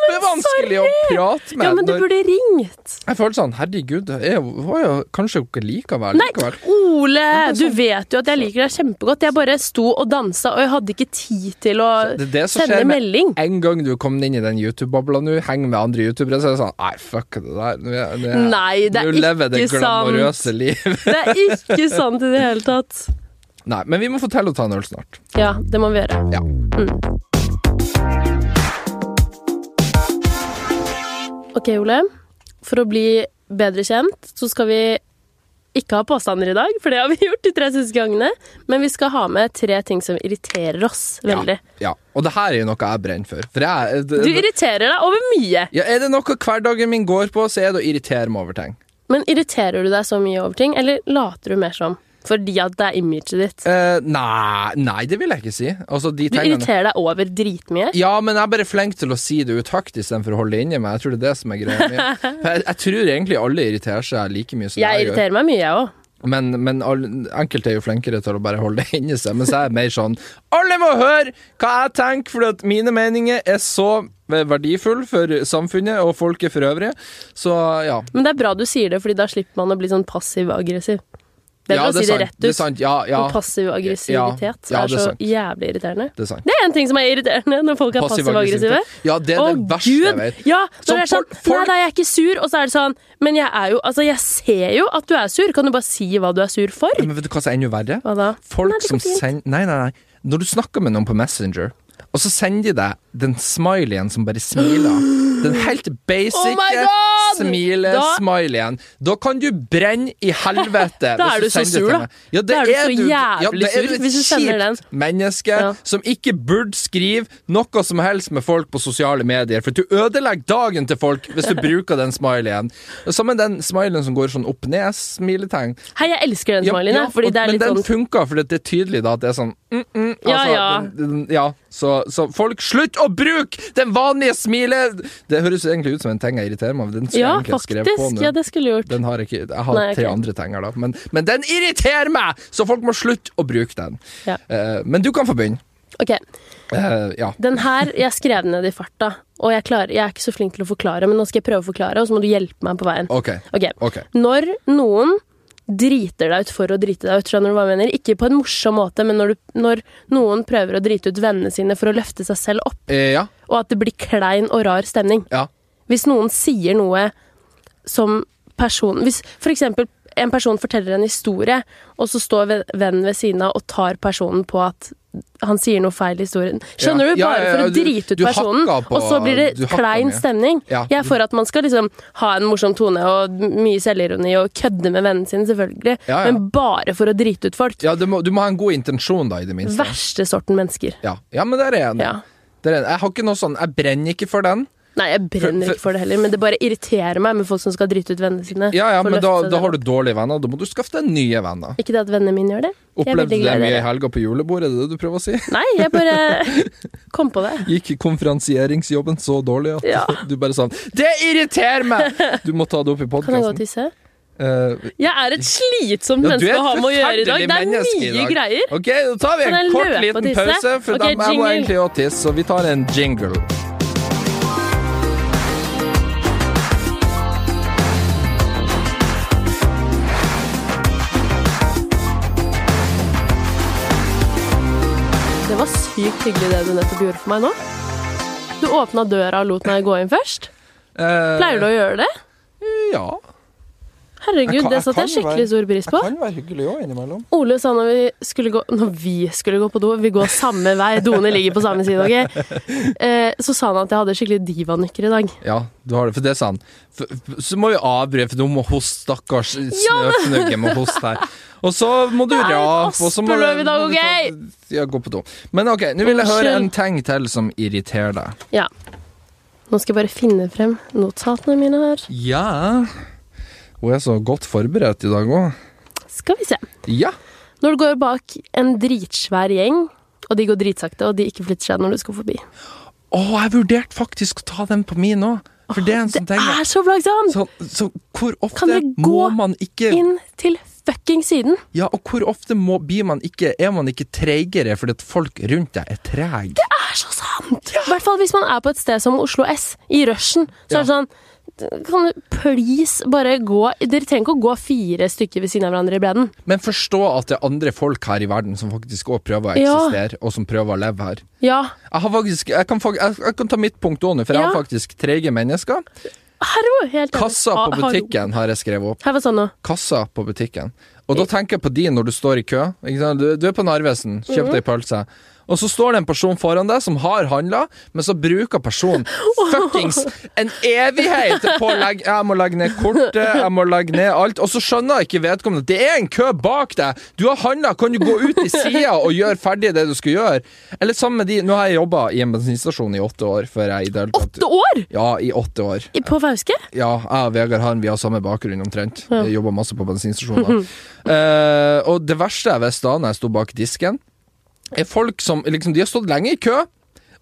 S2: kjempevanskelig å prate med.
S1: Ja, men du
S2: når-
S1: burde ringt!
S2: jeg følte sånn, herregud, jeg var jo kanskje ikke likevel.
S1: Nei,
S2: likevel.
S1: Ole! Du vet jo at jeg liker deg kjempegodt. Jeg bare sto og dansa, og jeg hadde ikke tid til å
S2: Det er det som
S1: sende
S2: skjer med
S1: melding.
S2: en gang du kom inn i den YouTube-babla nå, heng med andre youtubere, så er det sånn, nei, fuck det der. Nå er- nå er-
S1: Nei, det
S2: nå
S1: er
S2: lever det
S1: ikke sant!
S2: glamorøse liv. <laughs>
S1: Det er ikke sant i det hele tatt.
S2: Nei, men vi må fortelle å ta en øl snart.
S1: Ja, det må vi gjøre. Mm.
S2: Ja.
S1: Ok, Ole. For å bli bedre kjent, så skal vi ikke ha påstander i dag, for det har vi <laughs> gjort de tre siste gangene. Men vi skal ha med tre ting som irriterer oss veldig.
S2: Ja, ja. Og det her er jo noe jeg brenner for. For jeg... eh,
S1: Du
S2: Det,
S1: irriterer deg over mye,
S2: ja, er det noe hverdagen min går på, så er det å irritere meg over ting.
S1: men irriterer du deg så mye over ting, eller later du mer som? Fordi at det er imaget ditt.
S2: Eh, nei, nei, det vil jeg ikke si. Altså, de
S1: Du
S2: tingene...
S1: irriterer deg over dritmye.
S2: Ja, men jeg er bare flink til å si det ut høyt istedenfor å holde det inni meg. Jeg tror det er det som er greia mi.
S1: <laughs>
S2: For Jeg, jeg tror egentlig alle irriterer seg like mye som jeg,
S1: Jeg irriterer meg mye, jeg òg.
S2: gjør. Men, men all, enkelte er jo flinkere til å bare holde det inni seg. Mens jeg er mer sånn Alle må høre hva jeg tenker, for at mine meninger er så eh, verdifulle for samfunnet og folket for øvrig. Så ja.
S1: Men det er bra du sier det, Fordi da slipper man å bli sånn passiv-aggressiv. Det er
S2: ja,
S1: bra å si det
S2: sant,
S1: rett ut.
S2: er sant. Ja, ja.
S1: Og Passiv aggressivitet er,
S2: Ja, ja, det er
S1: så
S2: sant.
S1: jævlig irriterende.
S2: Det er sant.
S1: Det er en ting som er irriterende når folk er passiv-aggressive.
S2: Ja, det er
S1: Å,
S2: det verste jeg vet.
S1: Ja, når
S2: Som
S1: det er sånn
S2: folk- folk-
S1: Nei, nei, jeg er ikke sur, og så er det sånn Men jeg er jo Altså, jeg ser jo at du er sur. Kan du bare si hva du er sur for?
S2: Men vet du hva som er enda verre?
S1: Hva da?
S2: Folk
S1: Nei, det går
S2: som
S1: fint.
S2: sender Nei, nei, nei. Når du snakker med noen på Messenger, og så sender de deg den smileyen som bare smiler. Den
S1: <gasps>
S2: helt
S1: Oh
S2: basic
S1: my God! Da-
S2: smile-smileyen. Da kan du brenne i helvete.
S1: <laughs> Da er du
S2: hvis
S1: så
S2: sender
S1: sur,
S2: til
S1: da.
S2: meg. Ja, det
S1: Da er du så
S2: ja,
S1: jævlig
S2: da er
S1: sur
S2: et
S1: hvis du sender
S2: kjipt menneske
S1: Ja.
S2: som ikke burde skrive noe som helst med folk på sosiale medier, for du ødelegger dagen til folk hvis
S1: <laughs>
S2: du bruker den smileyen. Sammen den smileyen som går sånn opp-ned-smiletegn.
S1: Hei, jeg elsker den
S2: Ja,
S1: smileyen,
S2: ja,
S1: jeg, fordi
S2: og-
S1: det er
S2: men
S1: litt
S2: den
S1: sånn
S2: funka, for det er tydelig da at det er sånn mm, mm,
S1: Ja,
S2: altså,
S1: ja.
S2: Den, den, ja så, så folk, slutt å bruke den vanlige smilet! Det høres jo egentlig ut som en ting jeg irriterer meg over. Den skulle
S1: Ja,
S2: jeg egentlig ha skrevet på
S1: faktisk.
S2: nå.
S1: Ja, det skulle jeg gjort.
S2: Den har jeg ikke, jeg har
S1: Nei,
S2: tre
S1: ok.
S2: andre tenger, da. Men, men den irriterer meg! Så folk må slutte å bruke den.
S1: Ja.
S2: Eh, men du kan få begynne.
S1: Ok.
S2: Eh, ja.
S1: Den her, jeg skrev den ned i farta, og jeg, klarer, jeg er ikke så flink til å forklare, men nå skal jeg prøve å forklare, og så må du hjelpe meg på veien.
S2: OK.
S1: Ok.
S2: ok.
S1: Når noen driter deg ut for å drite deg ut, skjønner du hva jeg mener? Ikke på en morsom måte, men når, du, når noen prøver å drite ut vennene sine for å løfte seg selv opp,
S2: Eh, ja.
S1: og at det blir klein og rar stemning.
S2: Ja.
S1: Hvis noen sier noe som person Hvis for eksempel en person forteller en historie, og så står ve- vennen ved siden av og tar personen på at han sier noe feil i historien. Skjønner
S2: Ja.
S1: du?
S2: Ja,
S1: Bare
S2: ja, ja,
S1: for å
S2: du-
S1: drite ut
S2: du
S1: personen,
S2: hakker på-
S1: og så blir
S2: du
S1: det
S2: hakker
S1: klein
S2: med.
S1: stemning.
S2: Ja.
S1: Jeg er for at man skal liksom ha en morsom tone og mye selvironi og kødde med vennene sine, selvfølgelig,
S2: Ja, ja.
S1: men bare for å drite ut folk.
S2: ja du, må, du må ha en god intensjon, da, i det minste.
S1: Verste sorten mennesker.
S2: Ja. ja, men der er jeg enig.
S1: Ja.
S2: Der er jeg enig. Jeg har ikke noe sånn Jeg brenner ikke for den.
S1: Nei, jeg brenner
S2: For-
S1: ikke for det heller, men det bare irriterer meg med folk som skal drite ut vennene sine.
S2: Ja, ja,
S1: for å løfte
S2: men da,
S1: seg
S2: da
S1: selv
S2: har
S1: opp.
S2: du dårlige venner. Da må du skaffe deg nye venner.
S1: Ikke det at vennene mine gjør det. Jeg er veldig
S2: Opplevde det
S1: glad i
S2: mye i
S1: dere.
S2: helga på julebordet, er det det du prøver å si? <laughs>
S1: Nei, jeg bare kom på det.
S2: Gikk konferansieringsjobben så dårlig at
S1: Ja.
S2: <laughs> du bare sa Det irriterer meg!
S1: <laughs>
S2: Du må ta det opp i
S1: Kan jeg gå og
S2: podkasten.
S1: tisse? Jeg er et slitsomt
S2: Ja, du
S1: menneske
S2: er et
S1: å ha med å gjøre i dag.
S2: forferdelig
S1: Det er
S2: menneske i
S1: mye
S2: dag.
S1: greier.
S2: OK, da tar vi
S1: Kan
S2: en
S1: jeg
S2: kort
S1: løpe og
S2: liten
S1: tisse?
S2: pause, for
S1: Ok,
S2: da må jeg
S1: jingle.
S2: egentlig også tisse, så vi tar en jingle.
S1: sykt hyggelig det du nettopp gjorde for meg nå. Du åpna døra og lot meg gå inn først.
S2: Eh,
S1: Pleier du å gjøre det?
S2: Ja. Jeg
S1: Herregud,
S2: kan-
S1: det
S2: jeg
S1: satte jeg
S2: kan være-
S1: skikkelig stor pris på.
S2: være hyggelig òg, innimellom.
S1: Ole sa når vi skulle gå Når vi skulle gå på do, vi går samme vei, doene ligger på samme side, ok? Eh, så sa han at jeg hadde skikkelig divanykker i dag.
S2: Ja, du har det, for det sa han. For, for- så må vi avbryte, for nå må hoste, stakkars snøfnugge må hoste her. Og så må du
S1: Det er litt
S2: rape, og så må
S1: aspeløv i dag,
S2: må du ta- Ja, gå på do. Men ok, nå vil jeg høre en
S1: Unnskyld.
S2: ting til som irriterer deg.
S1: Ja. Nå skal jeg bare finne frem notatene mine her.
S2: Ja Hun er så godt forberedt i dag òg.
S1: Skal vi se.
S2: Ja.
S1: Når du går bak en dritsvær gjeng, og de går dritsakte, og de ikke flytter seg når du skal forbi.
S2: Å, jeg vurderte faktisk å ta den på min òg, for det er en sånn
S1: Det
S2: ting.
S1: er så plagsomt!
S2: Så, så hvor
S1: Kan dere
S2: ofte må
S1: gå
S2: man ikke
S1: Inn til fucking siden.
S2: Ja, og hvor ofte må, blir man ikke Er man ikke treigere fordi at folk rundt deg er trege?
S1: Det er så sant! I hvert fall hvis man er på et sted som Oslo S, i rushen. Så
S2: Ja.
S1: er det sånn Kan du please bare gå Dere trenger ikke å gå fire stykker ved siden av hverandre i bredden.
S2: Men forstå at det er andre folk her i verden som faktisk også prøver å
S1: Ja.
S2: eksistere, og som prøver å leve her.
S1: Ja.
S2: Jeg, har faktisk, jeg, kan, fak- jeg, jeg kan ta mitt punkt òg nå, for jeg
S1: Ja.
S2: har faktisk treige mennesker.
S1: Hallo! Helt enig.
S2: Kassa
S1: Ha-
S2: på
S1: hallo.
S2: butikken har jeg skrevet opp.
S1: Her var sånn nå.
S2: Kassa på butikken. Og da tenker jeg på de når du står i kø. Ikke sant? Du, du er på Narvesen, kjøp deg pølse. Og så står det en person foran deg som har handla, men så bruker personen fuckings en evighet på å legge Jeg må legge ned kortet, jeg må legge ned alt. Og så skjønner ikke vedkommende at det er en kø bak deg! Du har handla, kan du gå ut i sida og gjøre ferdig det du skal gjøre? Eller sammen med de Nå har jeg jobba i en bensinstasjon i åtte år før jeg i det hele tatt
S1: Åtte år!
S2: Ja, i åtte år.
S1: I- På Fauske?
S2: Ja, jeg og Vegard Harm vi har samme bakgrunn omtrent. Jeg jobber masse på bensinstasjoner. Eh, og det verste jeg visste da når jeg sto bak disken, er folk som liksom, De har stått lenge i kø,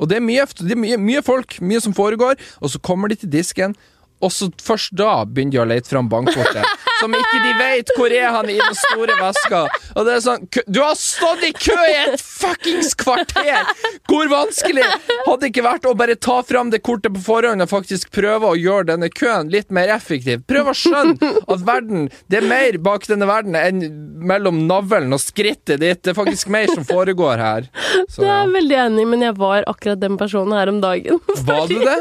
S2: og det er, mye, det er mye, mye folk, mye som foregår, og så kommer de til disken. Og så først da begynner de å lete fram bankkortet. Som ikke de vet hvor er han i den store veska. Og det er sånn kø- Du har stått i kø i et fuckings kvarter! Hvor vanskelig hadde det ikke vært å bare ta fram det kortet på forhånd og faktisk prøve å gjøre denne køen litt mer effektiv? Prøv å skjønne at verden Det er mer bak denne verden enn mellom navlen og skrittet ditt. Det er faktisk mer som foregår her.
S1: Det
S2: Så Sånn, ja.
S1: er jeg veldig enig, i, men jeg var akkurat den personen her om dagen. <laughs>
S2: Var du det?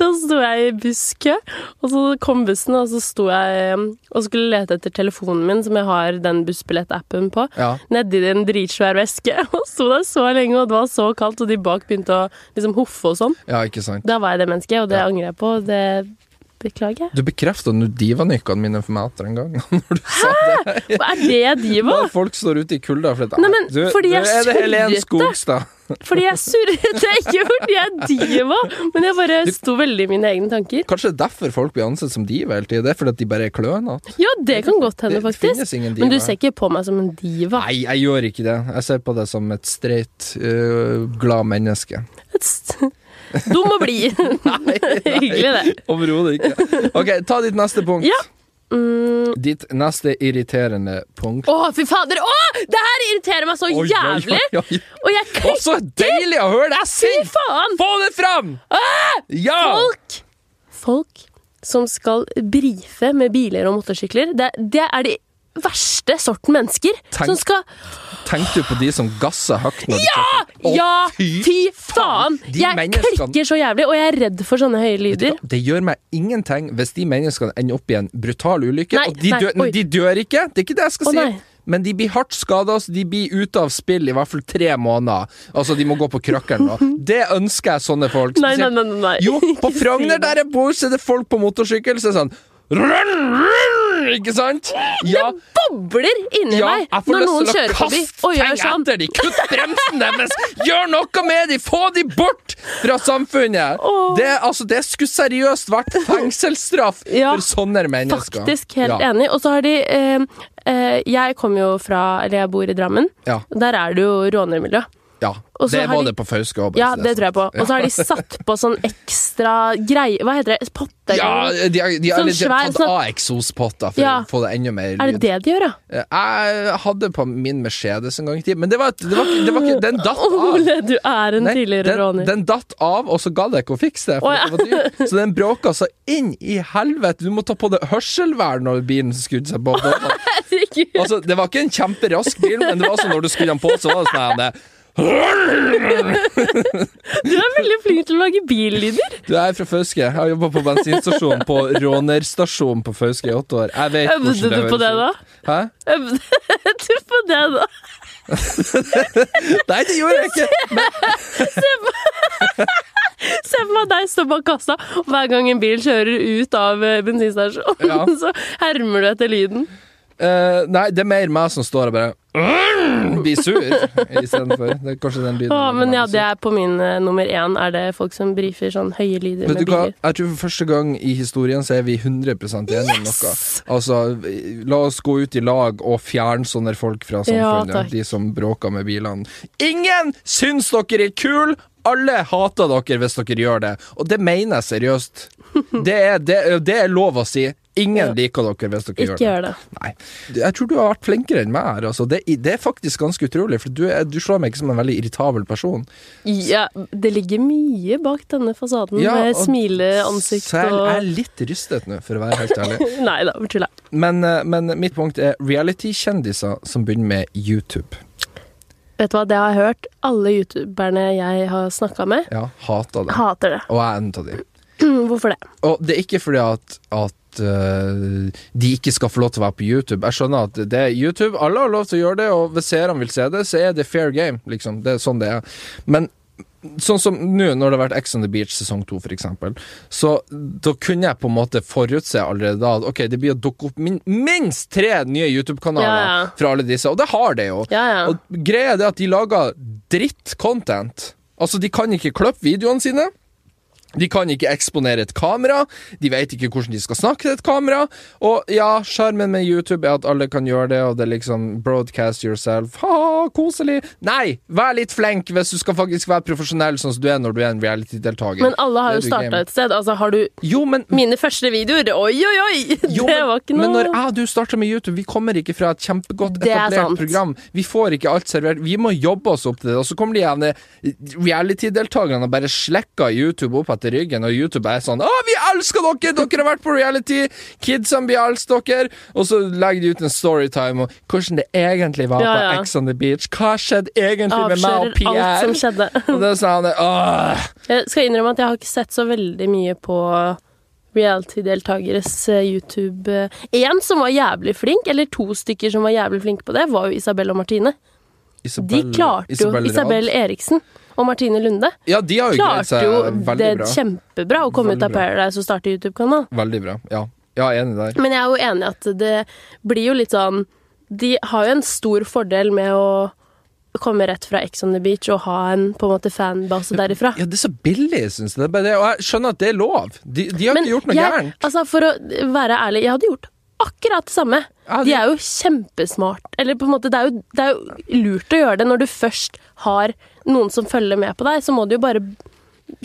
S1: Da sto jeg i busskø, og så kom bussen, og så sto jeg um, og skulle lete etter telefonen min, som jeg har den bussbillettappen på,
S2: Ja.
S1: nedi en dritsvær veske. <laughs> Og sto der så lenge, og det var så kaldt, og de bak begynte å liksom hoffe og sånn.
S2: Ja, ikke sant.
S1: Da var jeg det mennesket, og det
S2: Ja.
S1: angrer jeg på, og det beklager
S2: <laughs>
S1: jeg.
S2: Du bekrefta nå divanykkene mine for meg atter en gang. <laughs> Når du sa det.
S1: Og er det diva?
S2: Når folk står ute i kulda fordi,
S1: Nei, men
S2: du,
S1: fordi
S2: du,
S1: jeg
S2: er det Helen
S1: surret det.
S2: Skogstad.
S1: Fordi jeg surret, <laughs> det er ikke fordi jeg er diva, men jeg bare sto veldig i mine egne tanker.
S2: Kanskje det er derfor folk blir ansett som diva hele tida. Det er fordi at de bare er klønete.
S1: Ja, det kan godt hende,
S2: Det
S1: faktisk.
S2: finnes ingen diva.
S1: Men du ser ikke på meg som en diva.
S2: Nei, jeg gjør ikke det. Jeg ser på det som et streit, øh, glad menneske.
S1: Dum å
S2: <laughs>
S1: bli. <laughs> Hyggelig, det.
S2: Overhodet ikke. Ok, ta ditt neste punkt.
S1: Ja. Mm.
S2: Ditt neste irriterende punkt.
S1: Å, fy fader! Å, det her irriterer meg så
S2: Oi, oi, oi,
S1: jævlig!
S2: oi.
S1: Og jeg
S2: Å,
S1: klikker
S2: så deilig å høre deg synge!
S1: faen!
S2: Få det fram! Ja!
S1: Folk Folk som skal brife med biler og motorsykler, det, det er de verste sorten mennesker
S2: Tenk-
S1: som skal
S2: Tenkte du på de som gasser høyt når de kjører? Å,
S1: Ja,
S2: fy
S1: fy faen!
S2: faen, de
S1: Jeg
S2: menneskene-
S1: klikker så jævlig, og jeg er redd for sånne høye lyder.
S2: Det gjør meg ingenting hvis de menneskene ender opp i en brutal ulykke.
S1: Nei,
S2: og de,
S1: nei,
S2: dør,
S1: oi.
S2: de dør ikke, det er ikke det jeg skal
S1: Å,
S2: si.
S1: nei.
S2: Men de blir hardt skada, så de blir ute av spill i hvert fall tre måneder. Altså, de må gå på krøkkelen
S1: <laughs>
S2: nå. Det ønsker jeg sånne folk.
S1: Nei, nei,
S2: Spesielt-
S1: nei. nei, nei. <laughs>
S2: Jo, på
S1: Ikke si
S2: Frogner
S1: det.
S2: der jeg bor, så er det folk på motorsykkel som så er sånn run, run, <laughs> Ikke
S1: <laughs>
S2: sant? Ja,
S1: Bobler inni
S2: ja,
S1: meg
S2: jeg får
S1: når noen
S2: lyst til å
S1: kjører forbi
S2: kaste
S1: og
S2: ting
S1: gjør sånn.
S2: etter de Kutt bremsen deres! Gjør noe med de! Få de bort fra samfunnet!
S1: Åh.
S2: Det, altså, det skulle seriøst vært fengselsstraff
S1: <laughs> Ja,
S2: for sånne mennesker.
S1: Faktisk helt
S2: ja.
S1: enig. Og så har de eh, eh, Jeg kommer jo fra Eller jeg bor i Drammen.
S2: Ja,
S1: Der er det jo rånermiljø.
S2: ja.
S1: Og så
S2: Det
S1: har
S2: var
S1: de-
S2: det på Fauske òg.
S1: Ja, det tror jeg på. Og så har
S2: <laughs>
S1: de satt på sånn ekstra greie Hva heter det? Potter?
S2: Ja, de, de, de,
S1: Sånn
S2: eller de har
S1: svær,
S2: tatt
S1: sånn-
S2: av eksospotter for
S1: Ja.
S2: å få det enda mer
S1: Er det
S2: lyd.
S1: det de gjør, ja?
S2: Jeg hadde på min Mercedes en gang i tiden, men det var, det var, ikke- det var ikke Den datt av.
S1: Ole, du er en
S2: Ah. Nei,
S1: tidligere
S2: den,
S1: råner.
S2: den datt av, og så gadd jeg ikke å fikse det. For
S1: Å, ja.
S2: det var
S1: <laughs>
S2: dyrt. Så den bråka så inn i helvete. Du må ta på deg hørselvern når bilen skrudde seg på. Det var sånn-
S1: Herregud.
S2: Altså, det var ikke en kjemperask bil, men det var sånn når du skrudde den på, så var det sånn her, det
S1: Du er veldig flink til å lage billyder.
S2: Du er fra Fauske. Jeg har jobba på bensinstasjon på rånerstasjon på Fauske i åtte år. Jeg vet hvordan
S1: Øvde du på det,
S2: høres
S1: da?
S2: ut. Hæ?
S1: Øvde <laughs> du på det, da?
S2: Nei, det gjorde jeg
S1: <laughs>
S2: ikke!
S1: Se for meg deg stå bak kassa, og hver gang en bil kjører ut av eh, bensinstasjonen,
S2: Ja.
S1: <laughs> så hermer du etter lyden.
S2: Eh, nei, det er mer meg som står og bare blir sur istedenfor. Det er kanskje den lyden.
S1: Å, men ja,
S2: Blir sur.
S1: det er på min eh, nummer én, er det folk som briefer sånn høye lyder
S2: Vet
S1: med
S2: du hva?
S1: biler.
S2: Jeg tror for første gang i historien så er vi 100 enige om noe. Altså, la oss gå ut i lag og fjerne sånne folk fra
S1: Ja,
S2: samfunnet.
S1: takk.
S2: de som bråker med bilene. Ingen syns dere er kule! Alle hater dere hvis dere gjør det, og det mener jeg
S1: <laughs>
S2: seriøst. Det er, det, er- det er lov å si. Ingen liker dere hvis dere
S1: Ikke gjør det.
S2: Nei. Jeg tror du har vært flinkere enn meg her. Altså. Det, det er faktisk ganske utrolig, for du, er, du slår meg ikke som en veldig irritabel person.
S1: Ja, det ligger mye bak denne fasaden
S2: Ja,
S1: med
S2: og
S1: smileansikt
S2: Selv
S1: Eh, og
S2: er jeg litt rystet nå, for å være helt ærlig.
S1: <laughs> Nei da, bare tulla.
S2: Men, eh, men mitt punkt er reality-kjendiser som begynner med YouTube.
S1: Vet du hva, det har jeg hørt. Alle youtuberne jeg har snakka med,
S2: Ja, hater det.
S1: hater det. <clears throat>
S2: Og jeg er en av de.
S1: Hvorfor det?
S2: Og det er ikke fordi at, at eh, de ikke skal få lov til å være på YouTube. Jeg skjønner at det er YouTube, alle har lov til å gjøre det, og hvis seerne vil se det, så er det fair game, liksom. Det er sånn det er. Men sånn som nå, når det har vært Ex on the Beach sesong to, for eksempel, så da kunne jeg på en måte forutse allerede da at ok, det blir å dukke opp min, minst tre nye YouTube-kanaler
S1: Ja, ja.
S2: fra alle disse, og det har det jo.
S1: Ja, ja.
S2: Og greia er det at de lager dritt-content. Altså, de kan ikke kløppe videoene sine. De kan ikke eksponere et kamera. De vet ikke hvordan de skal snakke til et kamera. Og ja, skjermen med YouTube er at alle kan gjøre det, og det er liksom broadcast yourself. Ha, koselig. Nei, vær litt flink hvis du skal faktisk være profesjonell, sånn som du er når du er en reality-deltaker.
S1: Men alle har jo
S2: Det er du
S1: starta
S2: gamer.
S1: et sted. Altså, har du
S2: Jo, men
S1: mine første videoer? Oi, oi, oi!
S2: jo,
S1: <laughs> det
S2: men-
S1: var ikke noe
S2: Men når jeg og du starter med YouTube, vi kommer ikke fra et kjempegodt
S1: Det er
S2: etablert
S1: sant.
S2: program. Vi får ikke alt servert. Vi må jobbe oss opp til det. Og så kommer de gjerne reality-deltakerne og bare slekker YouTube opp etter ryggen, og YouTube er sånn 'Å, vi elsker dere! Dere har vært på reality! Kidsene blir elsker dere!' Og så legger de ut en storytime om hvordan det egentlig var
S1: Ja,
S2: på
S1: ja.
S2: Ex on the Beach. Hva skjedde egentlig med meg og
S1: avslører alt som
S2: Pierre?
S1: skjedde. <laughs>
S2: Og det er sånn Åh!
S1: Jeg skal innrømme at jeg har ikke sett så veldig mye på reality-deltakeres eh, YouTube. Én som var jævlig flink, eller to stykker som var jævlig flinke på det, var jo Isabel og Martine. De
S2: Isabel-
S1: klarte jo
S2: Rad.
S1: Isabel Eriksen og Martine Lunde
S2: Ja, de har jo greid
S1: klarte
S2: seg
S1: jo det
S2: veldig bra.
S1: kjempebra å komme
S2: Veldig
S1: ut av
S2: bra.
S1: Paradise og starte YouTube-kanal.
S2: Veldig bra. Ja, ja jeg er enig der.
S1: Men jeg er jo enig i at det blir jo litt sånn De har jo en stor fordel med å komme rett fra Ex on the Beach og ha en på en måte fanbase derifra.
S2: Ja, det er så billig, syns jeg. Det er bare det. Og jeg skjønner at det er lov. De, de har ikke gjort noe
S1: jeg,
S2: gærent.
S1: altså for å være ærlig, jeg hadde gjort akkurat det samme.
S2: Ja,
S1: De
S2: det-
S1: er jo kjempesmart. Eller på en måte, det er, jo, det er jo lurt å gjøre det når du først har noen som følger med på deg. Så må du jo bare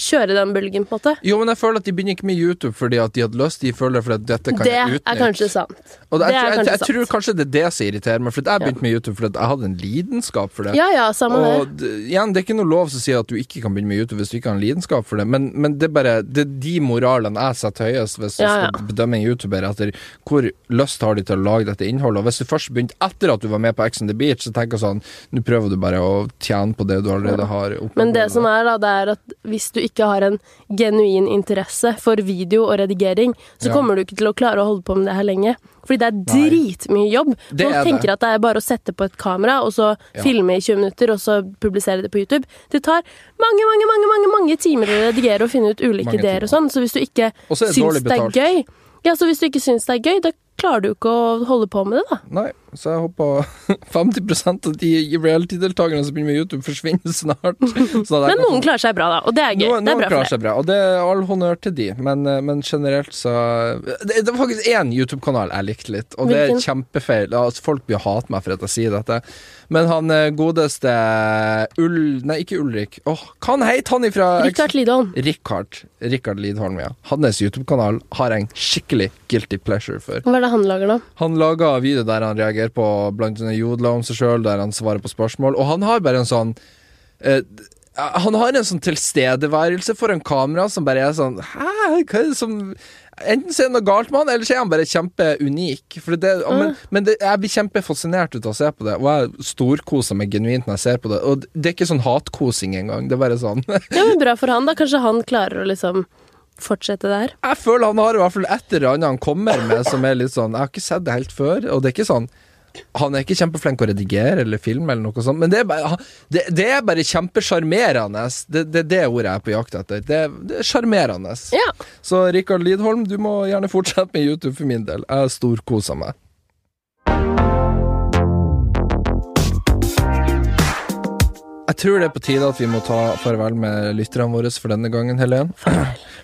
S1: kjøre den bølgen, på en måte.
S2: Jo, men jeg føler at de begynner ikke med YouTube fordi at de hadde lyst. De føler fordi at dette kan
S1: Det
S2: jeg
S1: er
S2: utnytte.
S1: kanskje sant.
S2: Og
S1: det er
S2: jeg, tror- jeg,
S1: kanskje
S2: jeg,
S1: sant.
S2: tror kanskje det er det som irriterer meg, for at jeg begynte med YouTube fordi at jeg hadde en lidenskap for det.
S1: Ja ja, samme det.
S2: Og d- igjen, det er ikke noe lov som sier at du ikke kan begynne med YouTube hvis du ikke har en lidenskap for det, men, men det er bare det er de moralene jeg setter høyest hvis du
S1: Ja, ja.
S2: skal bedømme en YouTuber etter hvor lyst har de til å lage dette innholdet. Og hvis du først begynte etter at du var med på Ex on the Beach, så tenker jeg sånn Nå prøver du bare å tjene på det du allerede har oppnådd.
S1: Men det som er da, det er at hvis du ikke har en genuin interesse for video og redigering, så
S2: Ja.
S1: kommer du ikke til å klare å holde på med det her lenge. Fordi det er
S2: Nei.
S1: dritmye jobb.
S2: Det
S1: Folk
S2: er det.
S1: tenker at det er bare å sette på et kamera, og så
S2: Ja.
S1: filme i 20 minutter, og så publisere det på YouTube. Det tar mange, mange, mange, mange, mange timer å redigere og finne ut ulike
S2: Mange
S1: ideer og sånn, så hvis du ikke
S2: Og så er det
S1: syns
S2: dårlig
S1: det er
S2: betalt.
S1: gøy Ja, så hvis du ikke syns det er gøy, da klarer du ikke å holde på med det, da.
S2: Nei, så jeg håper <laughs> 50 av de reality-deltakerne som begynner med YouTube, forsvinner snart. <laughs> Så at jeg
S1: Men
S2: kan få-
S1: noen klarer seg bra, da, og det er gøy.
S2: Noen,
S1: det er
S2: noen
S1: bra
S2: klarer
S1: for deg.
S2: seg bra, og det er all honnør til de, men, eh, men generelt så Det det er faktisk én YouTube-kanal jeg likte litt, og det er
S1: Hvilken?
S2: kjempefeil. Altså, folk blir hate meg for at jeg sier dette, men han eh, godeste Ull... Nei, ikke Ulrik. Åh, hva han het han ifra
S1: Rikard Lidholm.
S2: Rikard. Rikard Lidholm, ja. Hans YouTube-kanal har jeg en skikkelig guilty pleasure for.
S1: Hva er det han lager, da?
S2: Han laga video der han reagerer på blant annet jodla om seg sjøl, der han svarer på spørsmål, og han har bare en sånn eh, han har en sånn tilstedeværelse foran kamera som bare er sånn Hæ, hva er det som Enten så er det noe galt med han, eller så er han bare kjempeunik. For det, men men det, jeg blir kjempefascinert ut av å se på det, og jeg storkoser meg genuint når jeg ser på det. Og det er ikke sånn hatkosing engang. Det er bare sånn <laughs>
S1: Ja, men bra for han, da. Kanskje han klarer å liksom fortsette der.
S2: Jeg føler han har i hvert fall et eller annet han kommer med som er litt sånn Jeg har ikke sett det helt før, og det er ikke sånn han er ikke kjempeflink å redigere eller filme, eller noe sånt, men det er bare, han- det, det er bare kjempesjarmerende. Det, det er det ordet jeg er på jakt etter. Det, det er sjarmerende.
S1: Ja.
S2: Så Rikard Lidholm, du må gjerne fortsette med YouTube for min del. Jeg storkoser meg. Jeg tror det er på tide at vi må ta farvel med lytterne våre for denne gangen, Helen. <clears throat>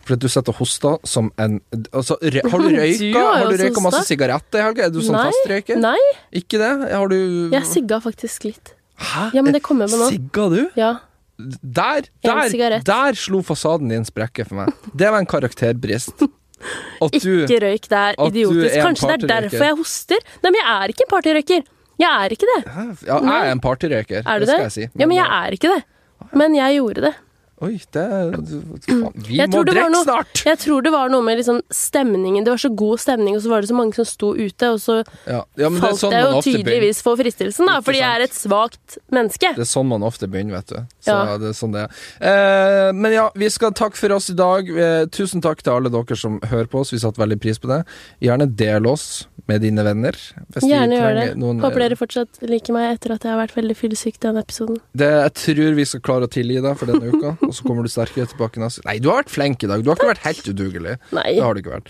S2: For at du sitter og hoster som en altså, rø- Har du
S1: Du har jo
S2: røyka, har du
S1: også
S2: røyka masse
S1: hosta.
S2: sigaretter i helga? Er du sånn
S1: Nei,
S2: fastrøyker?
S1: Nei,
S2: Ikke det? Har du
S1: jeg sigga faktisk litt.
S2: Hæ? Eh,
S1: Ja, men det kommer med nå.
S2: Sigga du?
S1: Ja.
S2: Der,
S1: En
S2: der,
S1: sigarett.
S2: der slo fasaden din sprekke for meg. Det var en karakterbrist. At du
S1: <laughs> Ikke røyk, det er
S2: at du
S1: idiotisk.
S2: er en
S1: Kanskje det er
S2: partyrøyker.
S1: derfor jeg hoster. Nei, men jeg er ikke en partyrøyker. Jeg er ikke det.
S2: Hæ? Ja, jeg er en partyrøyker,
S1: Er du
S2: det
S1: det?
S2: skal jeg si.
S1: ja, men jeg er ikke det. Men jeg gjorde det.
S2: Oi, det er- faen, Vi
S1: Jeg
S2: må
S1: tror det var
S2: drikke
S1: noe-
S2: snart!
S1: Jeg tror det var noe med liksom stemningen. Det var så god stemning, og så var det så mange som sto ute. Og så
S2: Ja, ja, men det er
S1: falt
S2: sånn
S1: jeg
S2: man
S1: jo
S2: ofte begynner.
S1: tydeligvis for fristelsen, da,
S2: Ikke
S1: fordi jeg
S2: sant.
S1: er et svakt menneske.
S2: Det er sånn man ofte begynner, vet du. Så
S1: Ja.
S2: det er sånn det er. Eh, men ja, vi skal takke for oss i dag. Eh, tusen takk til alle dere som hører på oss. Vi satte veldig pris på det. Gjerne del oss med dine venner. Hvis du
S1: Gjerne gjør det.
S2: trenger noen-
S1: Håper dere fortsatt liker meg etter at jeg har vært veldig fyllesyk denne episoden.
S2: Det, jeg tror vi skal klare å tilgi deg for denne uka, og så kommer du sterkere tilbake neste Nei, du har vært flink i dag. Du har ikke vært helt udugelig.
S1: Nei.
S2: Det har du ikke vært.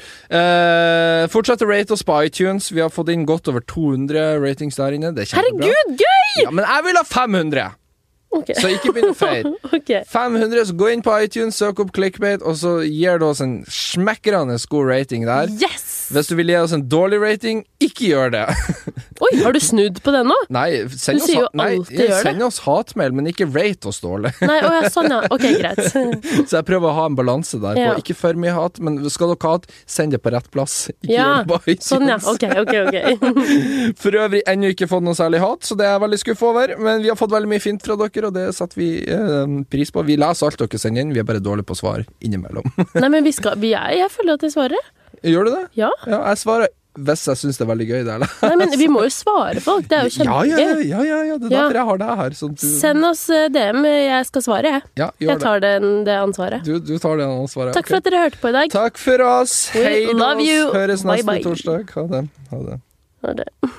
S2: Eh, fortsett å rate oss på iTunes. Vi har fått inn godt over 200 ratings der inne. Det er kjempebra.
S1: Herregud, gøy!
S2: Ja, men jeg vil ha 500!
S1: Ok.
S2: Så ikke begynn å feire.
S1: <laughs> Ok.
S2: 500, så gå inn på iTunes, søk opp clickbait, og så gir du oss en smekkerende god rating der.
S1: Yes!
S2: Hvis du vil gi oss en dårlig rating, ikke gjør det. <laughs>
S1: Oi, har du snudd på den nå?
S2: Nei, send
S1: Du
S2: oss,
S1: sier jo
S2: ha- nei,
S1: alltid gjør
S2: send oss hatmail, men ikke rate oss dårlig. <laughs>
S1: Nei, å ja, sånn ja. Ok, greit.
S2: Så jeg prøver å ha en balanse der.
S1: Ja.
S2: På. Ikke for mye hat, men skal dere ha hat, send det på rett plass. Ikke
S1: Ja,
S2: gjør det på iTunes.
S1: Sånn ja. Ok, ok, ok. <laughs>
S2: For øvrig ennå ikke fått noe særlig hat, så det er jeg veldig skuffa over. Men vi har fått veldig mye fint fra dere, og det setter vi eh, pris på. Vi leser alt dere sender inn, vi er bare dårlige på å svare innimellom. <laughs>
S1: Nei, men vi skal vi er, Jeg føler at jeg svarer.
S2: gjør du det?
S1: Ja.
S2: Ja, jeg svarer hvis jeg syns det er veldig gøy. Det, eller?
S1: Nei, men vi må jo svare folk. Det er jo
S2: <laughs> Ja, ja,
S1: kjempegøy.
S2: ja, ja, ja, det er
S1: Ja.
S2: derfor jeg har deg her. Sånn, at du,
S1: Send oss eh, DM. Jeg skal svare, jeg.
S2: ja, gjør
S1: Jeg tar den, det ansvaret.
S2: det. Du, du tar det ansvaret.
S1: Takk for
S2: ok.
S1: at dere hørte på i dag.
S2: Takk for oss.
S1: We
S2: Hei
S1: love
S2: oss.
S1: you.
S2: Høres
S1: Bye,
S2: neste
S1: bye.
S2: torsdag. Ha det. Ha det.
S1: Ha det.